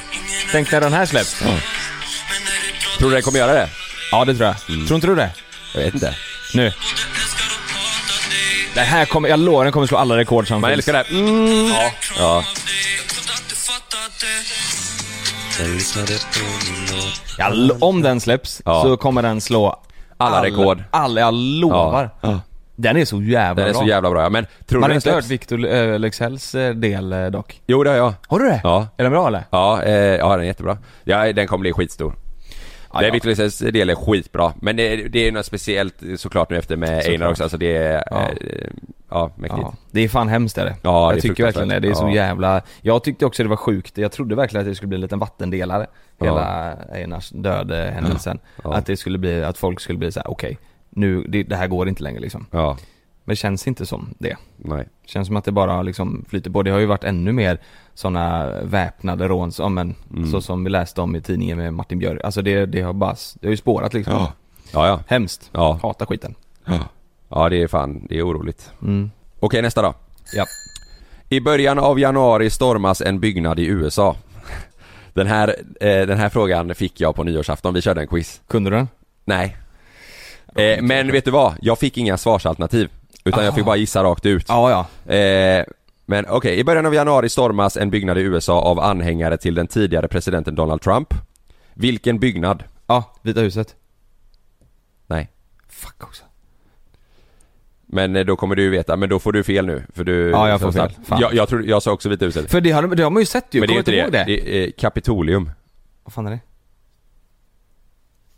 [SPEAKER 4] är
[SPEAKER 2] Tänk när den här släpps.
[SPEAKER 4] Mm. Men när du drar
[SPEAKER 1] tror du den kommer göra det?
[SPEAKER 2] Mm. Ja det tror jag.
[SPEAKER 1] Mm.
[SPEAKER 2] Tror inte du det?
[SPEAKER 1] Jag vet inte.
[SPEAKER 2] Nu.
[SPEAKER 4] både älskar och hatar dig
[SPEAKER 2] Den här kommer, jag lovar den kommer slå alla rekord som
[SPEAKER 1] Man
[SPEAKER 2] finns.
[SPEAKER 1] älskar det här. Mm. Ja. ja.
[SPEAKER 4] av dig Jag trodde att du fattade
[SPEAKER 2] Jag lo- om den släpps
[SPEAKER 1] Ja.
[SPEAKER 2] så kommer den slå
[SPEAKER 1] Alla rekord.
[SPEAKER 2] Alla, jag lovar.
[SPEAKER 1] Ja.
[SPEAKER 2] Den är så jävla
[SPEAKER 1] Den är
[SPEAKER 2] bra.
[SPEAKER 1] så jävla bra ja. Men tror
[SPEAKER 2] Man
[SPEAKER 1] du
[SPEAKER 2] har
[SPEAKER 1] den
[SPEAKER 2] inte hört
[SPEAKER 1] släpps?
[SPEAKER 2] Victor eh, Leksells eh, del eh, dock.
[SPEAKER 1] Jo det har jag.
[SPEAKER 2] Har du det?
[SPEAKER 1] Ja.
[SPEAKER 2] Är den bra eller?
[SPEAKER 1] Ja, eh, ja den är jättebra. Ja, den kommer bli skitstor. det är
[SPEAKER 2] ja.
[SPEAKER 1] Victor Lisses del är skitbra. Men det, är- det är något speciellt såklart nu efter med Einar också. Alltså det är... Ja,
[SPEAKER 2] Ja.
[SPEAKER 1] eh, ja mäktigt.
[SPEAKER 2] Ja, det är fan hemskt är det.
[SPEAKER 1] Ja, det är
[SPEAKER 2] jag tycker verkligen det. Det är så
[SPEAKER 1] fruktansvärt.
[SPEAKER 2] jävla... Jag tyckte också det var sjukt. Jag trodde verkligen att det skulle bli en liten vattendelare. Hela Einars död-händelsen.
[SPEAKER 1] Ja.
[SPEAKER 2] Att det skulle bli, att folk skulle bli så här: okej, nu, det, det här går inte längre liksom.
[SPEAKER 1] Ja,
[SPEAKER 2] Men det känns inte som det.
[SPEAKER 1] nej.
[SPEAKER 2] Det känns som att det bara liksom flyter på. Det har ju varit ännu mer sådana väpnade rån, som- ja, men,
[SPEAKER 1] Mm.
[SPEAKER 2] så som vi läste om i tidningen med Martin Björk. Alltså det, det har bara, s- det har ju spårat liksom.
[SPEAKER 1] Ja, ja.
[SPEAKER 2] Hemskt.
[SPEAKER 1] Ja.
[SPEAKER 2] Hatar skiten. Mm.
[SPEAKER 1] Ja, det är fan, det är oroligt. Okej, nästa då.
[SPEAKER 2] Ja.
[SPEAKER 1] I början av januari stormas en byggnad i USA. Den här, eh, den här frågan fick jag på nyårsafton, vi körde en quiz.
[SPEAKER 2] Kunde du den?
[SPEAKER 1] Nej. Eh, men vet du vad? Jag fick inga svarsalternativ. Utan jag
[SPEAKER 2] Ah.
[SPEAKER 1] fick bara gissa rakt ut.
[SPEAKER 2] Ja, ja.
[SPEAKER 1] Eh, men okej, i början av januari stormas en byggnad i USA av anhängare till den tidigare presidenten Donald Trump. Vilken byggnad?
[SPEAKER 2] Ja, Vita huset.
[SPEAKER 1] Nej.
[SPEAKER 2] Fuck också.
[SPEAKER 1] Men eh, då kommer du ju veta, men då får du fel nu. För du,
[SPEAKER 2] Ja, jag får
[SPEAKER 1] så-
[SPEAKER 2] fel. Fan.
[SPEAKER 1] Jag, jag, tror, jag sa också Vita huset.
[SPEAKER 2] För det har, det har man ju sett ju,
[SPEAKER 1] Men det är
[SPEAKER 2] kommer
[SPEAKER 1] inte
[SPEAKER 2] inte
[SPEAKER 1] det.
[SPEAKER 2] ihåg det?
[SPEAKER 1] det är, eh, Kapitolium.
[SPEAKER 2] Vad fan är det?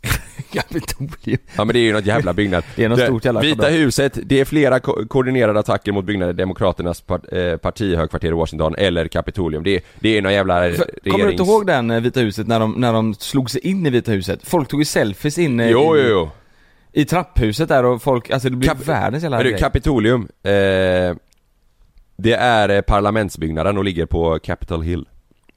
[SPEAKER 2] Kapitolium.
[SPEAKER 1] Ja men det är ju något jävla byggnad.
[SPEAKER 2] Det är något stort jävla
[SPEAKER 1] Vita
[SPEAKER 2] kvadrat.
[SPEAKER 1] huset, det är flera ko- koordinerade attacker mot byggnader Demokraternas part, eh, partihögkvarter i Washington eller Kapitolium. Det, är- det är någon jävla regerings...
[SPEAKER 2] Kommer du inte ihåg den eh, Vita huset när de, när de slog sig in i Vita huset? Folk tog ju selfies inne
[SPEAKER 1] Jo,
[SPEAKER 2] i,
[SPEAKER 1] jo, jo.
[SPEAKER 2] i trapphuset där och folk, alltså det blev
[SPEAKER 1] Kap-
[SPEAKER 2] världens jävla
[SPEAKER 1] Men du,
[SPEAKER 2] grej.
[SPEAKER 1] Kapitolium. Eh, det är eh, parlamentsbyggnaden och ligger på Capitol Hill.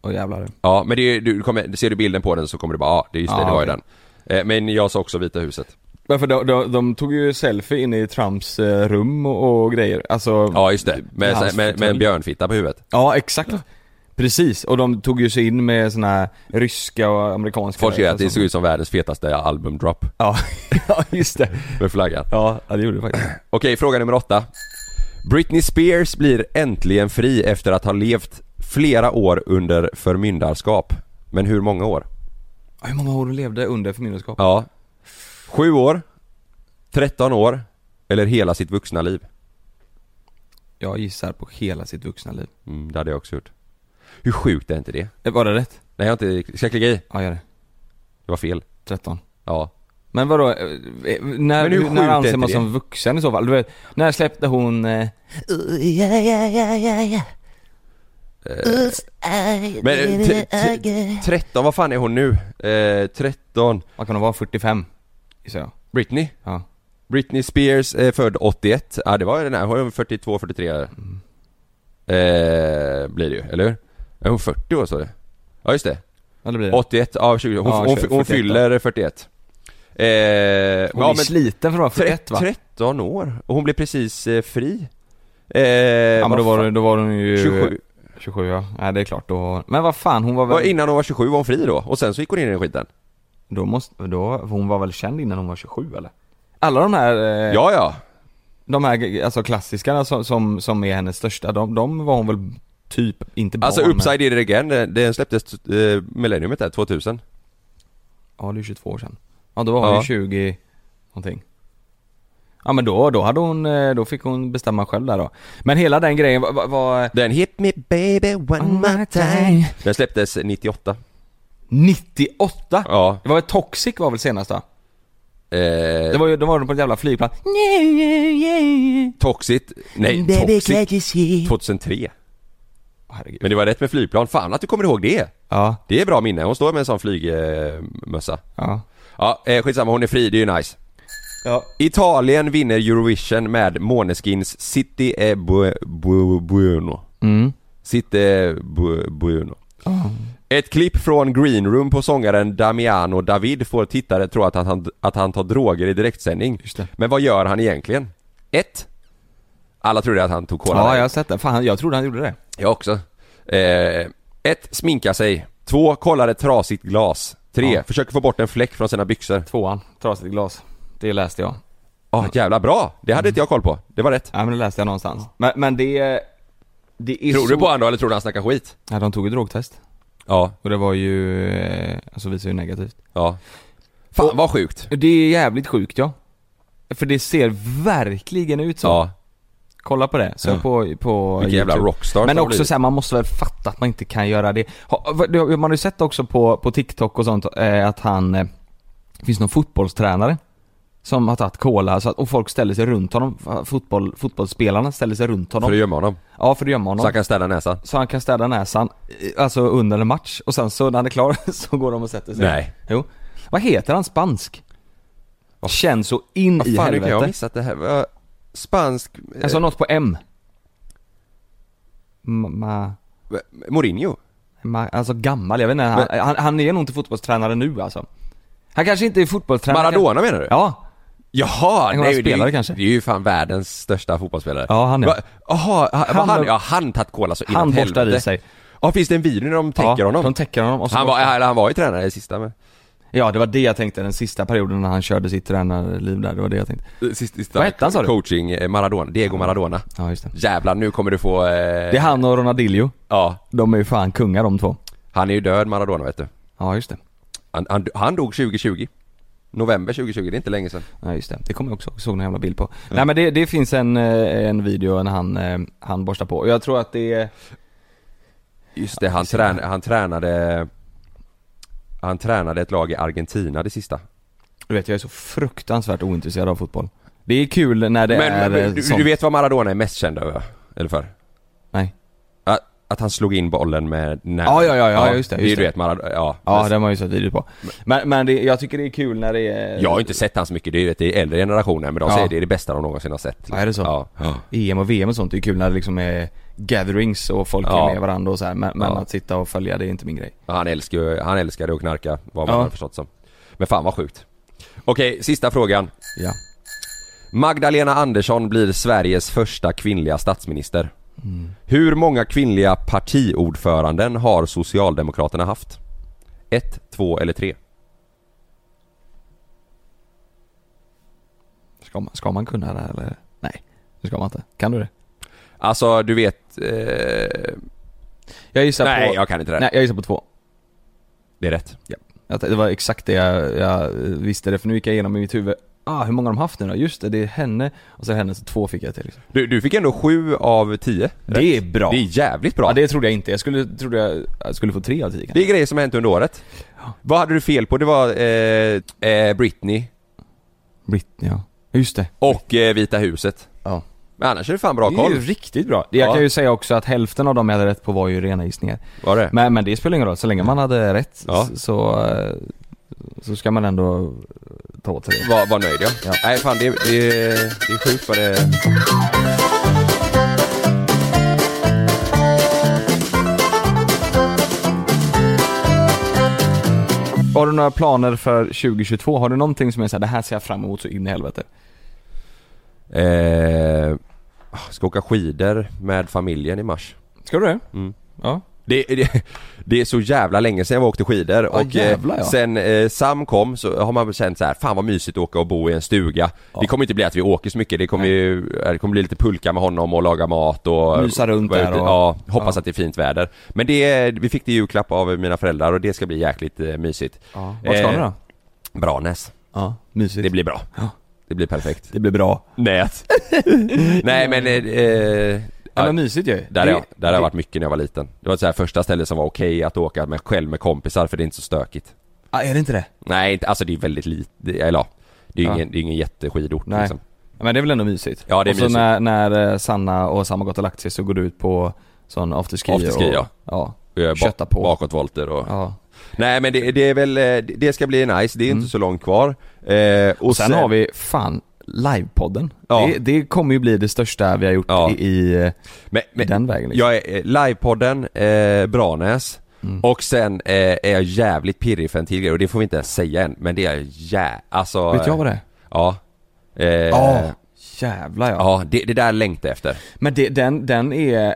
[SPEAKER 2] Åh jävlar.
[SPEAKER 1] Ja, men det är, du kommer, ser du bilden på den så kommer du bara, ja, ah, det är just det,
[SPEAKER 2] Ja,
[SPEAKER 1] det var ju
[SPEAKER 2] okej.
[SPEAKER 1] den. Eh, men jag sa också Vita huset.
[SPEAKER 2] Varför de, de, de tog ju selfie inne i Trumps eh, rum och, och grejer, alltså
[SPEAKER 1] Ja, just det. Med, med,
[SPEAKER 2] Hans
[SPEAKER 1] med en
[SPEAKER 2] fåtölj.
[SPEAKER 1] björnfitta på huvudet.
[SPEAKER 2] alltså, Ja, exakt. Precis, och de tog ju sig in med såna här ryska och amerikanska
[SPEAKER 1] Folk säger att det
[SPEAKER 2] alltså.
[SPEAKER 1] såg ut som världens fetaste albumdrop
[SPEAKER 2] Ja, ja just det.
[SPEAKER 1] med flaggan.
[SPEAKER 2] Ja, ja, det gjorde det faktiskt.
[SPEAKER 1] Okej, fråga nummer åtta. Britney Spears blir äntligen fri efter att ha levt flera år under förmyndarskap. Men hur många år?
[SPEAKER 2] Ja, Hur många år hon levde under förmyndarskap?
[SPEAKER 1] Ja. Sju år, 13 år eller hela sitt vuxna liv?
[SPEAKER 2] Jag gissar på hela sitt vuxna liv.
[SPEAKER 1] Mm, det hade jag också gjort. Hur sjukt är inte det?
[SPEAKER 2] Eh, Var det rätt?
[SPEAKER 1] Nej, jag har inte... Ska jag klicka i?
[SPEAKER 2] Ja, gör det.
[SPEAKER 1] Det var fel.
[SPEAKER 2] 13.
[SPEAKER 1] Ja.
[SPEAKER 2] Men vadå, eh, eh, när,
[SPEAKER 1] Men hur
[SPEAKER 2] hur,
[SPEAKER 1] sjukt är
[SPEAKER 2] när anser
[SPEAKER 1] inte
[SPEAKER 2] man
[SPEAKER 1] det?
[SPEAKER 2] som vuxen i så fall? Du vet, när släppte hon... Eh,
[SPEAKER 1] Eh. Men eh, t- t- 13, vad fan är hon nu? Eh, 13.
[SPEAKER 2] vad kan hon vara? 45? Gissar jag.
[SPEAKER 1] Britney?
[SPEAKER 2] Ja.
[SPEAKER 1] Britney Spears är född 81, ja det var den här, hon är 42, 43 där.
[SPEAKER 2] Mm.
[SPEAKER 1] eh, Blir det ju, eller hur? Är hon 40 år så det? Ja just det,
[SPEAKER 2] Eller blir det?
[SPEAKER 1] 81, ja 20, hon,
[SPEAKER 2] Ja,
[SPEAKER 1] hon, hon,
[SPEAKER 2] 41, då.
[SPEAKER 1] fyller 41 eh,
[SPEAKER 2] hon är sliten för att vara 41 va?
[SPEAKER 1] 13 år, och hon blev precis eh, fri eh,
[SPEAKER 2] Ja men
[SPEAKER 1] vad
[SPEAKER 2] då var,
[SPEAKER 1] fan-
[SPEAKER 2] hon- då var hon ju...
[SPEAKER 1] 27,
[SPEAKER 2] 27 ja, nej det är klart då. Men vad fan hon var
[SPEAKER 1] Var-
[SPEAKER 2] väl...
[SPEAKER 1] innan hon var 27 var hon fri då, och sen så gick hon in i den skiten
[SPEAKER 2] Då måste, då, hon var väl känd innan hon var 27 eller? Alla de här, eh,
[SPEAKER 1] Ja ja,
[SPEAKER 2] de här alltså klassikerna som, som, som är hennes största, de, de var hon väl typ, inte barn
[SPEAKER 1] alltså
[SPEAKER 2] men-
[SPEAKER 1] Upside Did It Again, den- den släpptes eh, millenniumet där, 2000
[SPEAKER 2] Ja det är 22 år sedan. Ja då var hon
[SPEAKER 1] Ja.
[SPEAKER 2] ju 20 någonting Ja men då, då hade hon, eh, då fick hon bestämma själv där då Men hela den grejen var, var, var
[SPEAKER 1] Den Hit Me Baby One More Time Den släpptes 98
[SPEAKER 2] 98?
[SPEAKER 1] Ja
[SPEAKER 2] Det var väl Toxic var väl senast va?
[SPEAKER 1] eh,
[SPEAKER 2] Det var ju, de var på ett jävla flygplan
[SPEAKER 1] Toxit Nej, Toxic 2003
[SPEAKER 2] Herregud
[SPEAKER 1] Men det var rätt med flygplan, fan att du kommer ihåg det!
[SPEAKER 2] Ja,
[SPEAKER 1] Det är bra minne, hon står med en sån flygmössa
[SPEAKER 2] ja
[SPEAKER 1] Ja, eh, skitsamma, hon är fri, det är ju nice
[SPEAKER 2] Ja
[SPEAKER 1] Italien vinner Eurovision med Måneskins City e Bu- Bu- Buono
[SPEAKER 2] Mm
[SPEAKER 1] City e Bu- Buono Ett klipp från Green Room på sångaren Damiano David får tittare tro att han, att han tar droger i direktsändning
[SPEAKER 2] Just det.
[SPEAKER 1] Men vad gör han egentligen? 1. Alla trodde att han tog cola
[SPEAKER 2] Ja
[SPEAKER 1] Light.
[SPEAKER 2] jag har sett det, fan jag trodde han gjorde det
[SPEAKER 1] Jag också. Eh, ett, sminka sig. Två, kollar ett trasigt glas. Tre,
[SPEAKER 2] Ja.
[SPEAKER 1] försöker få bort en fläck från sina byxor.
[SPEAKER 2] Tvåan, trasigt glas Det läste jag
[SPEAKER 1] Ah, jävla bra! Det hade inte jag koll på. Det var rätt.
[SPEAKER 2] Ja men det läste jag någonstans Men, men det, det är
[SPEAKER 1] Tror
[SPEAKER 2] så...
[SPEAKER 1] du på honom då, eller tror du han snackar skit?
[SPEAKER 2] Ja de tog ju drogtest
[SPEAKER 1] Ja,
[SPEAKER 2] Och det var ju, eh, alltså visade ju negativt
[SPEAKER 1] ja. Fan vad sjukt.
[SPEAKER 2] Det är jävligt sjukt ja. För det ser verkligen ut så.
[SPEAKER 1] Ja,
[SPEAKER 2] Kolla på det. Så
[SPEAKER 1] Ja.
[SPEAKER 2] på, på
[SPEAKER 1] Vilken jävla rockstar
[SPEAKER 2] Men
[SPEAKER 1] det har
[SPEAKER 2] också
[SPEAKER 1] blivit.
[SPEAKER 2] såhär, man måste väl fatta att man inte kan göra det. Ha, vad- det har- man har ju sett också på, på TikTok och sånt eh, att han, eh, det finns någon fotbollstränare som har tagit cola så att, och folk ställer sig runt honom. F- Fotboll, fotbollsspelarna ställer sig runt honom.
[SPEAKER 1] för att gömma honom.
[SPEAKER 2] Ja, för att gömma honom.
[SPEAKER 1] Så han kan städa näsan.
[SPEAKER 2] Så han kan städa näsan, eh, alltså under en match. Och sen så när han är klar så går de och sätter sig.
[SPEAKER 1] Nej.
[SPEAKER 2] Jo. Vad heter han spansk? Känns så in i
[SPEAKER 1] Fan, nu kan jag ha
[SPEAKER 2] helvete.
[SPEAKER 1] missat det här. Vad- Spansk... eh,
[SPEAKER 2] Alltså något på M. Ma,
[SPEAKER 1] Mourinho?
[SPEAKER 2] ma, alltså gammal, jag vet inte. Han, han, han är nog inte fotbollstränare nu alltså. Han kanske inte är fotbollstränare.
[SPEAKER 1] Maradona menar du?
[SPEAKER 2] Ja.
[SPEAKER 1] Jaha!
[SPEAKER 2] En gammal
[SPEAKER 1] Nej, det, är
[SPEAKER 2] spelare
[SPEAKER 1] ju,
[SPEAKER 2] kanske.
[SPEAKER 1] det är ju fan världens största fotbollsspelare.
[SPEAKER 2] Ja, han är.
[SPEAKER 1] Va- Jaha, han,
[SPEAKER 2] Han-
[SPEAKER 1] han, han, ja, han tagit cola så
[SPEAKER 2] Han
[SPEAKER 1] inåt
[SPEAKER 2] borstar i
[SPEAKER 1] helvete.
[SPEAKER 2] sig.
[SPEAKER 1] Ja, finns det en video när de täcker
[SPEAKER 2] ja,
[SPEAKER 1] honom?
[SPEAKER 2] De täcker honom. Och så
[SPEAKER 1] han, var, eller, han var ju tränare i sista men...
[SPEAKER 2] Ja, det var det jag tänkte den sista perioden när han körde sitt tränarliv där. Det var det jag tänkte.
[SPEAKER 1] Sista, Eh, sista
[SPEAKER 2] Vad hette han, sa du?
[SPEAKER 1] Coaching, eh, Maradona, Diego Maradona.
[SPEAKER 2] Ja, just det.
[SPEAKER 1] Jävlar, nu kommer du få... Eh,
[SPEAKER 2] Det är han och Ronaldinho.
[SPEAKER 1] Ja,
[SPEAKER 2] De är ju fan kungar de två.
[SPEAKER 1] han är ju död Maradona vet du.
[SPEAKER 2] Ja, just det.
[SPEAKER 1] Han, han, han dog 2020. November 2020, det är inte länge sedan.
[SPEAKER 2] Ja just det, det kommer jag också ihåg. såg någon jävla bild på. Nej men det, det finns en, eh, en video när han, eh, han borstar på. Och Jag tror att det är...
[SPEAKER 1] Just det, han,
[SPEAKER 2] Alltså,
[SPEAKER 1] trän, han tränade... Han tränade ett lag i Argentina det sista.
[SPEAKER 2] Du vet jag är så fruktansvärt ointresserad av fotboll. Det är kul när det är
[SPEAKER 1] men men
[SPEAKER 2] eh,
[SPEAKER 1] du,
[SPEAKER 2] sånt.
[SPEAKER 1] du vet vad Maradona är mest känd över? Eller för?
[SPEAKER 2] Nej.
[SPEAKER 1] Att, att han slog in bollen med när...
[SPEAKER 2] Ja, ja, ja, ja, just det,
[SPEAKER 1] det. är
[SPEAKER 2] just
[SPEAKER 1] Du
[SPEAKER 2] det.
[SPEAKER 1] vet Maradona, ja.
[SPEAKER 2] Ja
[SPEAKER 1] Men-
[SPEAKER 2] den har jag ju sett video på. Men, men det, jag tycker det är kul när det är...
[SPEAKER 1] Jag har ju inte sett han så mycket, det är, vet, det är äldre generationer men de
[SPEAKER 2] Ja.
[SPEAKER 1] säger det är det bästa de någonsin har sett.
[SPEAKER 2] Ja, är det så?
[SPEAKER 1] Ja. ja.
[SPEAKER 2] EM E och VM och sånt, det är kul när det liksom är gatherings och folk
[SPEAKER 1] Ja.
[SPEAKER 2] är med varandra och så här. Men, men
[SPEAKER 1] Ja.
[SPEAKER 2] att sitta och följa det är inte min grej.
[SPEAKER 1] Han älskar ju- han älskade att knarka, vad man
[SPEAKER 2] Ja.
[SPEAKER 1] har förstått som. Men fan vad sjukt. Okej, sista frågan.
[SPEAKER 2] Ja.
[SPEAKER 1] Magdalena Andersson blir Sveriges första kvinnliga statsminister. Hur många kvinnliga partiordföranden har Socialdemokraterna haft? Ett, två eller tre?
[SPEAKER 2] Ska man, ska man kunna det här, eller? Nej, det ska man inte. Kan du det?
[SPEAKER 1] Alltså du vet... Eh,
[SPEAKER 2] Jag gissar
[SPEAKER 1] nej,
[SPEAKER 2] på...
[SPEAKER 1] jag kan inte det. här.
[SPEAKER 2] Nej, jag gissar på två.
[SPEAKER 1] Det är rätt.
[SPEAKER 2] Att det var exakt det jag, jag visste det, för nu gick jag igenom i mitt huvud. Ah, hur många har de haft nu då? Just det, det är henne och så är det henne, så två fick jag till. Liksom.
[SPEAKER 1] Du, du fick ändå sju av tio. Rätt.
[SPEAKER 2] Det är bra.
[SPEAKER 1] Det är jävligt bra.
[SPEAKER 2] Ja, det trodde jag inte. Jag skulle, trodde jag, jag skulle få tre av tio
[SPEAKER 1] Det
[SPEAKER 2] kanske.
[SPEAKER 1] är grejer som har hänt under året. Vad hade du fel på? Det var eh, eh, Britney
[SPEAKER 2] Britney, ja. Just det.
[SPEAKER 1] och eh, Vita huset.
[SPEAKER 2] Ja.
[SPEAKER 1] Men annars är det fan bra
[SPEAKER 2] Det är ju
[SPEAKER 1] koll.
[SPEAKER 2] riktigt bra. Jag
[SPEAKER 1] Ja.
[SPEAKER 2] kan ju säga också att hälften av dem jag hade rätt på var ju rena gissningar.
[SPEAKER 1] Var det?
[SPEAKER 2] Men, men det spelar ingen roll, så länge man hade rätt
[SPEAKER 1] Ja.
[SPEAKER 2] s- så, eh, så ska man ändå ta åt sig det.
[SPEAKER 1] Var, var nöjd jag.
[SPEAKER 2] Ja.
[SPEAKER 1] Nej fan det, det, det är sjukt vad det...
[SPEAKER 2] Har du några planer för 2022? Har du någonting som är såhär, det här ser jag fram emot så in i helvete?
[SPEAKER 1] Eh, ska åka skidor med familjen i mars.
[SPEAKER 2] Ska du det?
[SPEAKER 1] Mm.
[SPEAKER 2] Ja.
[SPEAKER 1] Det, det, det är så jävla länge sedan jag åkte skidor och eh,
[SPEAKER 2] jävlar, ja.
[SPEAKER 1] sen eh, Sam kom så har man väl känt så här, fan vad mysigt att åka och bo i en stuga. Det kommer inte bli att vi åker så mycket, det kommer, ju, eh, det kommer bli lite pulka med honom och laga mat och
[SPEAKER 2] Mysa runt
[SPEAKER 1] vara
[SPEAKER 2] där
[SPEAKER 1] ute.
[SPEAKER 2] och-
[SPEAKER 1] Ja, hoppas
[SPEAKER 2] ja.
[SPEAKER 1] att det är fint väder. Men det, vi fick det i julklapp av mina föräldrar och det ska bli jäkligt eh, mysigt.
[SPEAKER 2] ja. Vart ska
[SPEAKER 1] Eh,
[SPEAKER 2] ni då?
[SPEAKER 1] Branäs.
[SPEAKER 2] Ja, mysigt.
[SPEAKER 1] Det blir bra.
[SPEAKER 2] Ja.
[SPEAKER 1] Det blir perfekt.
[SPEAKER 2] det blir bra.
[SPEAKER 1] Nät. Nej men, eh, eh,
[SPEAKER 2] Ja,
[SPEAKER 1] Ja.
[SPEAKER 2] men mysigt ju.
[SPEAKER 1] där,
[SPEAKER 2] det,
[SPEAKER 1] har jag, där har
[SPEAKER 2] det-
[SPEAKER 1] jag varit mycket när jag var liten. Det var ett så här första ställe som var okej att åka med själv med kompisar för det är inte så stökigt.
[SPEAKER 2] Ah, är det inte det?
[SPEAKER 1] Nej, inte- alltså det är väldigt lite, eller ja, det är ju
[SPEAKER 2] Ja.
[SPEAKER 1] ingen, det är ingen jätteskidort
[SPEAKER 2] Nej.
[SPEAKER 1] liksom.
[SPEAKER 2] Ja, men det är väl ändå mysigt?
[SPEAKER 1] Ja, det är
[SPEAKER 2] och så
[SPEAKER 1] mysigt.
[SPEAKER 2] När, när eh, Sanna och Sam har gått och lagt sig så går du ut på sån afterski,
[SPEAKER 1] Afterski,
[SPEAKER 2] och,
[SPEAKER 1] ja.
[SPEAKER 2] ja.
[SPEAKER 1] Och jag
[SPEAKER 2] Kötta på.
[SPEAKER 1] Bakåtvolter och...
[SPEAKER 2] ja.
[SPEAKER 1] Nej men det, det är väl, eh, det- det ska bli nice, det är inte så långt kvar. Eh,
[SPEAKER 2] Mm. Och sen, har vi, fan, livepodden.
[SPEAKER 1] Ja.
[SPEAKER 2] Det, det kommer ju bli det största vi har gjort
[SPEAKER 1] Ja.
[SPEAKER 2] i, i,
[SPEAKER 1] men,
[SPEAKER 2] i
[SPEAKER 1] men,
[SPEAKER 2] den vägen liksom.
[SPEAKER 1] Jag är eh, livepodden, eh, Branäs
[SPEAKER 2] Mm.
[SPEAKER 1] och sen eh, är jag jävligt pirrig för en till grej och det får vi inte ens säga än men det är jag jä... alltså...
[SPEAKER 2] Vet jag vad det är?
[SPEAKER 1] Ja. Eh,
[SPEAKER 2] Ja, jävlar ja.
[SPEAKER 1] Ja, det, det där längtar jag efter.
[SPEAKER 2] Men det, den, den är...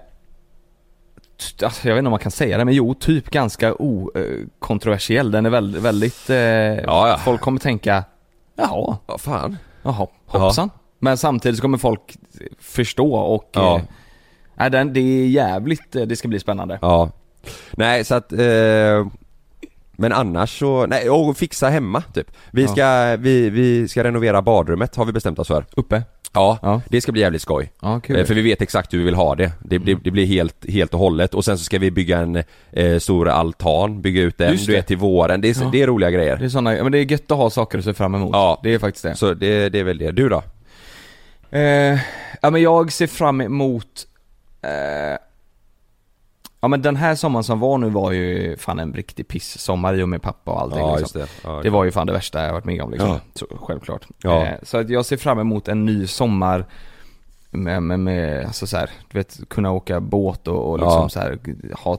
[SPEAKER 2] Alltså, jag vet inte om man kan säga det, men jo, typ ganska okontroversiell. Den är väldigt, väldigt... Eh,
[SPEAKER 1] Ja, ja.
[SPEAKER 2] Folk kommer tänka, jaha,
[SPEAKER 1] Ja, fan.
[SPEAKER 2] jaha, hoppsan. Men samtidigt så kommer folk förstå och...
[SPEAKER 1] Ja.
[SPEAKER 2] Eh, nej, den, det är jävligt, eh, det ska bli spännande.
[SPEAKER 1] Ja. Nej så att, eh, men annars så, nej och fixa hemma typ. Vi
[SPEAKER 2] Ja.
[SPEAKER 1] ska, vi, vi ska renovera badrummet har vi bestämt oss för.
[SPEAKER 2] Uppe?
[SPEAKER 1] Ja,
[SPEAKER 2] Ja.
[SPEAKER 1] det ska bli jävligt skoj.
[SPEAKER 2] Ja,
[SPEAKER 1] Eh, För vi vet exakt hur vi vill ha det. Det, det,
[SPEAKER 2] Mm.
[SPEAKER 1] det blir helt, helt och hållet och sen så ska vi bygga en eh, stor altan, bygga ut den,
[SPEAKER 2] Just
[SPEAKER 1] du
[SPEAKER 2] det.
[SPEAKER 1] vet till våren. Det är,
[SPEAKER 2] Ja.
[SPEAKER 1] det är roliga grejer.
[SPEAKER 2] Det är såna, men det är gött att ha saker att se fram emot.
[SPEAKER 1] Ja.
[SPEAKER 2] Det är faktiskt det.
[SPEAKER 1] Så det, det är väl det. Du då?
[SPEAKER 2] Eh, ja men jag ser fram emot eh, Ja men den här sommaren som var nu var ju fan en riktig piss-sommar i och med pappa och allting liksom.
[SPEAKER 1] det. Ja,
[SPEAKER 2] Det var ju fan det värsta jag har varit med om liksom.
[SPEAKER 1] Ja.
[SPEAKER 2] Så, självklart.
[SPEAKER 1] Ja.
[SPEAKER 2] Eh, så att jag ser fram emot en ny sommar med, med, med alltså så här, du vet, kunna åka båt och, och liksom
[SPEAKER 1] Ja.
[SPEAKER 2] så här, ha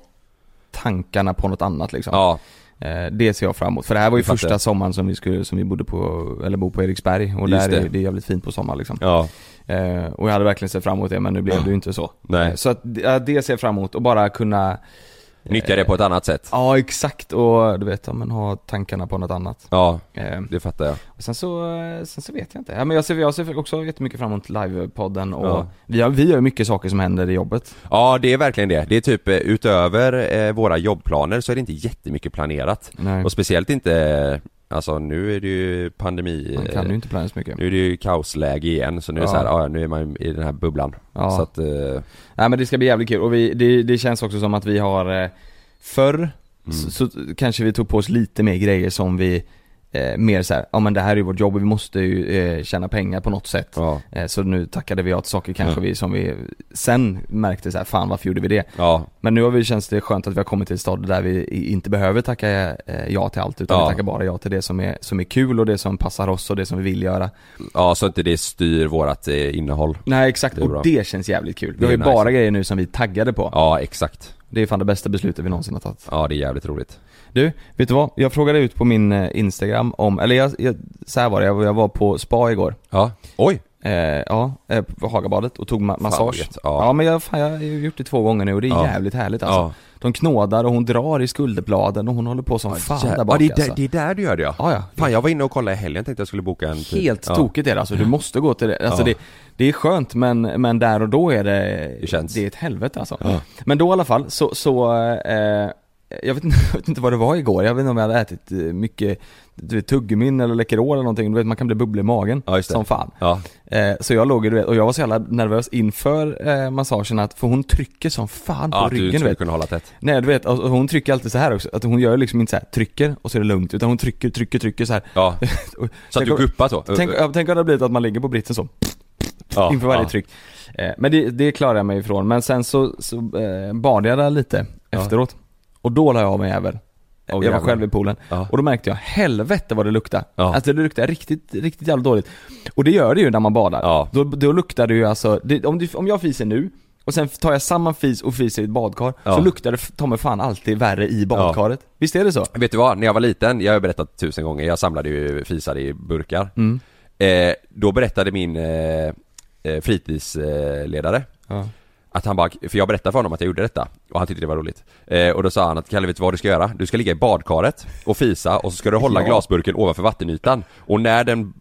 [SPEAKER 2] tankarna på något annat liksom.
[SPEAKER 1] ja,
[SPEAKER 2] Eh, det ser jag fram emot. För det här var ju
[SPEAKER 1] Jag fattar.
[SPEAKER 2] första sommaren som vi, skulle, som vi bodde på, eller bor på Eriksberg och
[SPEAKER 1] Just
[SPEAKER 2] där
[SPEAKER 1] det.
[SPEAKER 2] är det är jävligt fint på sommaren liksom.
[SPEAKER 1] ja,
[SPEAKER 2] Eh, och jag hade verkligen sett fram emot det men nu blev det ju inte så. Eh,
[SPEAKER 1] nej.
[SPEAKER 2] Så att ja, det ser jag fram emot och bara kunna,
[SPEAKER 1] Nyttja det på ett annat sätt.
[SPEAKER 2] ja exakt och du vet, ja, men ha tankarna på något annat.
[SPEAKER 1] Ja,
[SPEAKER 2] Eh,
[SPEAKER 1] det fattar jag.
[SPEAKER 2] och sen så, eh, sen så vet jag inte. Ja, men jag ser, jag ser också jättemycket fram emot livepodden och
[SPEAKER 1] Ja.
[SPEAKER 2] vi, har, vi gör ju mycket saker som händer i jobbet.
[SPEAKER 1] Ja, det är verkligen det. Det är typ eh, utöver eh, våra jobbplaner så är det inte jättemycket planerat.
[SPEAKER 2] Nej.
[SPEAKER 1] Och speciellt inte, eh, alltså nu är det ju pandemi... eh,
[SPEAKER 2] Man kan ju inte planera så mycket.
[SPEAKER 1] Nu är det ju kaosläge igen så nu är det
[SPEAKER 2] Ja.
[SPEAKER 1] så här, ja, nu är man i den här bubblan.
[SPEAKER 2] Ja.
[SPEAKER 1] Så att, eh,
[SPEAKER 2] Nej men det ska bli jävligt kul och vi, det, det känns också som att vi har eh, förr
[SPEAKER 1] Mm.
[SPEAKER 2] så, så kanske vi tog på oss lite mer grejer som vi eh, mer såhär, ja men det här är ju vårt jobb och vi måste ju eh, tjäna pengar på något sätt.
[SPEAKER 1] ja,
[SPEAKER 2] Eh, så nu tackade vi ja till saker
[SPEAKER 1] Ja.
[SPEAKER 2] kanske vi som vi sen märkte så här, fan varför gjorde vi det?
[SPEAKER 1] ja,
[SPEAKER 2] Men nu har vi känns det skönt att vi har kommit till ett stadie där vi i- inte behöver tacka eh, ja till allt utan
[SPEAKER 1] Ja.
[SPEAKER 2] vi tackar bara ja till det som är, som är kul och det som passar oss och det som vi vill göra.
[SPEAKER 1] ja, så inte det styr vårat eh, innehåll.
[SPEAKER 2] Nej exakt,
[SPEAKER 1] Det är
[SPEAKER 2] och
[SPEAKER 1] bra.
[SPEAKER 2] det känns jävligt kul. Vi
[SPEAKER 1] Det
[SPEAKER 2] har
[SPEAKER 1] är
[SPEAKER 2] ju
[SPEAKER 1] nice.
[SPEAKER 2] bara grejer nu som vi taggade på.
[SPEAKER 1] Ja, exakt.
[SPEAKER 2] Det är fan det bästa beslutet vi någonsin har tagit.
[SPEAKER 1] Ja, det är jävligt roligt.
[SPEAKER 2] Du, vet du vad? Jag frågade ut på min eh, Instagram om, eller jag, jag, så här var det, jag, jag var på spa igår.
[SPEAKER 1] Ja, oj!
[SPEAKER 2] Eh, ja, eh, på Hagabadet och tog ma-
[SPEAKER 1] vad
[SPEAKER 2] massage.
[SPEAKER 1] gött.
[SPEAKER 2] ja.
[SPEAKER 1] Ja.
[SPEAKER 2] men jag, fan, jag har ju gjort det två gånger nu och det är
[SPEAKER 1] Ja.
[SPEAKER 2] jävligt härligt alltså. De knådar och hon drar i skulderbladen och hon håller på som fan
[SPEAKER 1] Jävlar.
[SPEAKER 2] där bak
[SPEAKER 1] ja, det, är där-
[SPEAKER 2] alltså.
[SPEAKER 1] det är där du gör det ja.
[SPEAKER 2] Ja, ja.
[SPEAKER 1] Fan, jag var inne och kollade i helgen tänkte jag skulle boka en tid.
[SPEAKER 2] Helt
[SPEAKER 1] typ. ja.
[SPEAKER 2] tokigt är det alltså, du måste gå till det. Alltså
[SPEAKER 1] Ja.
[SPEAKER 2] det, det är skönt men, men där och då är det,
[SPEAKER 1] Det känns.
[SPEAKER 2] är ett helvete alltså.
[SPEAKER 1] Ja.
[SPEAKER 2] Men då i alla fall så, så eh, jag, vet, inte- jag vet inte vad det var igår, jag vet inte om jag hade ätit eh, mycket du vet, tuggummin eller Läkerol eller någonting, du vet man kan bli bubblig i magen
[SPEAKER 1] Ja, just det.
[SPEAKER 2] som fan.
[SPEAKER 1] Ja,
[SPEAKER 2] Eh, så jag låg ju, du vet, och jag var så jävla nervös inför eh, massagen att, för hon trycker som fan på
[SPEAKER 1] ja att du
[SPEAKER 2] ryggen du
[SPEAKER 1] skulle
[SPEAKER 2] vet.
[SPEAKER 1] kunna hålla tätt.
[SPEAKER 2] Nej du vet, och och hon trycker alltid så här också, att hon gör liksom inte så här trycker och så är det lugnt, utan hon trycker, trycker, trycker så här.
[SPEAKER 1] Ja, så
[SPEAKER 2] Och-
[SPEAKER 1] att
[SPEAKER 2] tänk
[SPEAKER 1] du
[SPEAKER 2] om-
[SPEAKER 1] guppar så.
[SPEAKER 2] Tänk, ja, tänk om det hade blivit att man ligger på britsen så,
[SPEAKER 1] Uh, ja,
[SPEAKER 2] inför varje
[SPEAKER 1] ja.
[SPEAKER 2] tryck. Eh, men det, det klarar jag mig ifrån. Men sen så, så eh, badade jag där lite
[SPEAKER 1] Ja.
[SPEAKER 2] efteråt. Och då la jag av mig även. jag var
[SPEAKER 1] jävlar.
[SPEAKER 2] själv i poolen.
[SPEAKER 1] Ja.
[SPEAKER 2] Och då märkte jag, helvete vad det luktade.
[SPEAKER 1] Ja.
[SPEAKER 2] Alltså det luktade riktigt, riktigt jävla dåligt. Och det gör det ju när man badar.
[SPEAKER 1] Ja.
[SPEAKER 2] Då, då luktar det ju alltså, det, om, du, om jag fiser nu och sen tar jag samma fis och fiser i ett badkar,
[SPEAKER 1] Ja.
[SPEAKER 2] så luktar det f- ta mig fan alltid värre i badkaret. Visst är det så?
[SPEAKER 1] Vet du vad, när jag var liten, jag har ju berättat tusen gånger, jag samlade ju fisar i burkar.
[SPEAKER 2] Mm.
[SPEAKER 1] Eh, då berättade min eh, eh, fritidsledare
[SPEAKER 2] Ja.
[SPEAKER 1] att han bara, för jag berättade för honom att jag gjorde detta och han tyckte det var roligt. Eh, och då sa han att Kalle vet du vad du ska göra? Du ska ligga i badkaret och fisa och så ska du hålla
[SPEAKER 2] Ja.
[SPEAKER 1] glasburken ovanför vattenytan och när den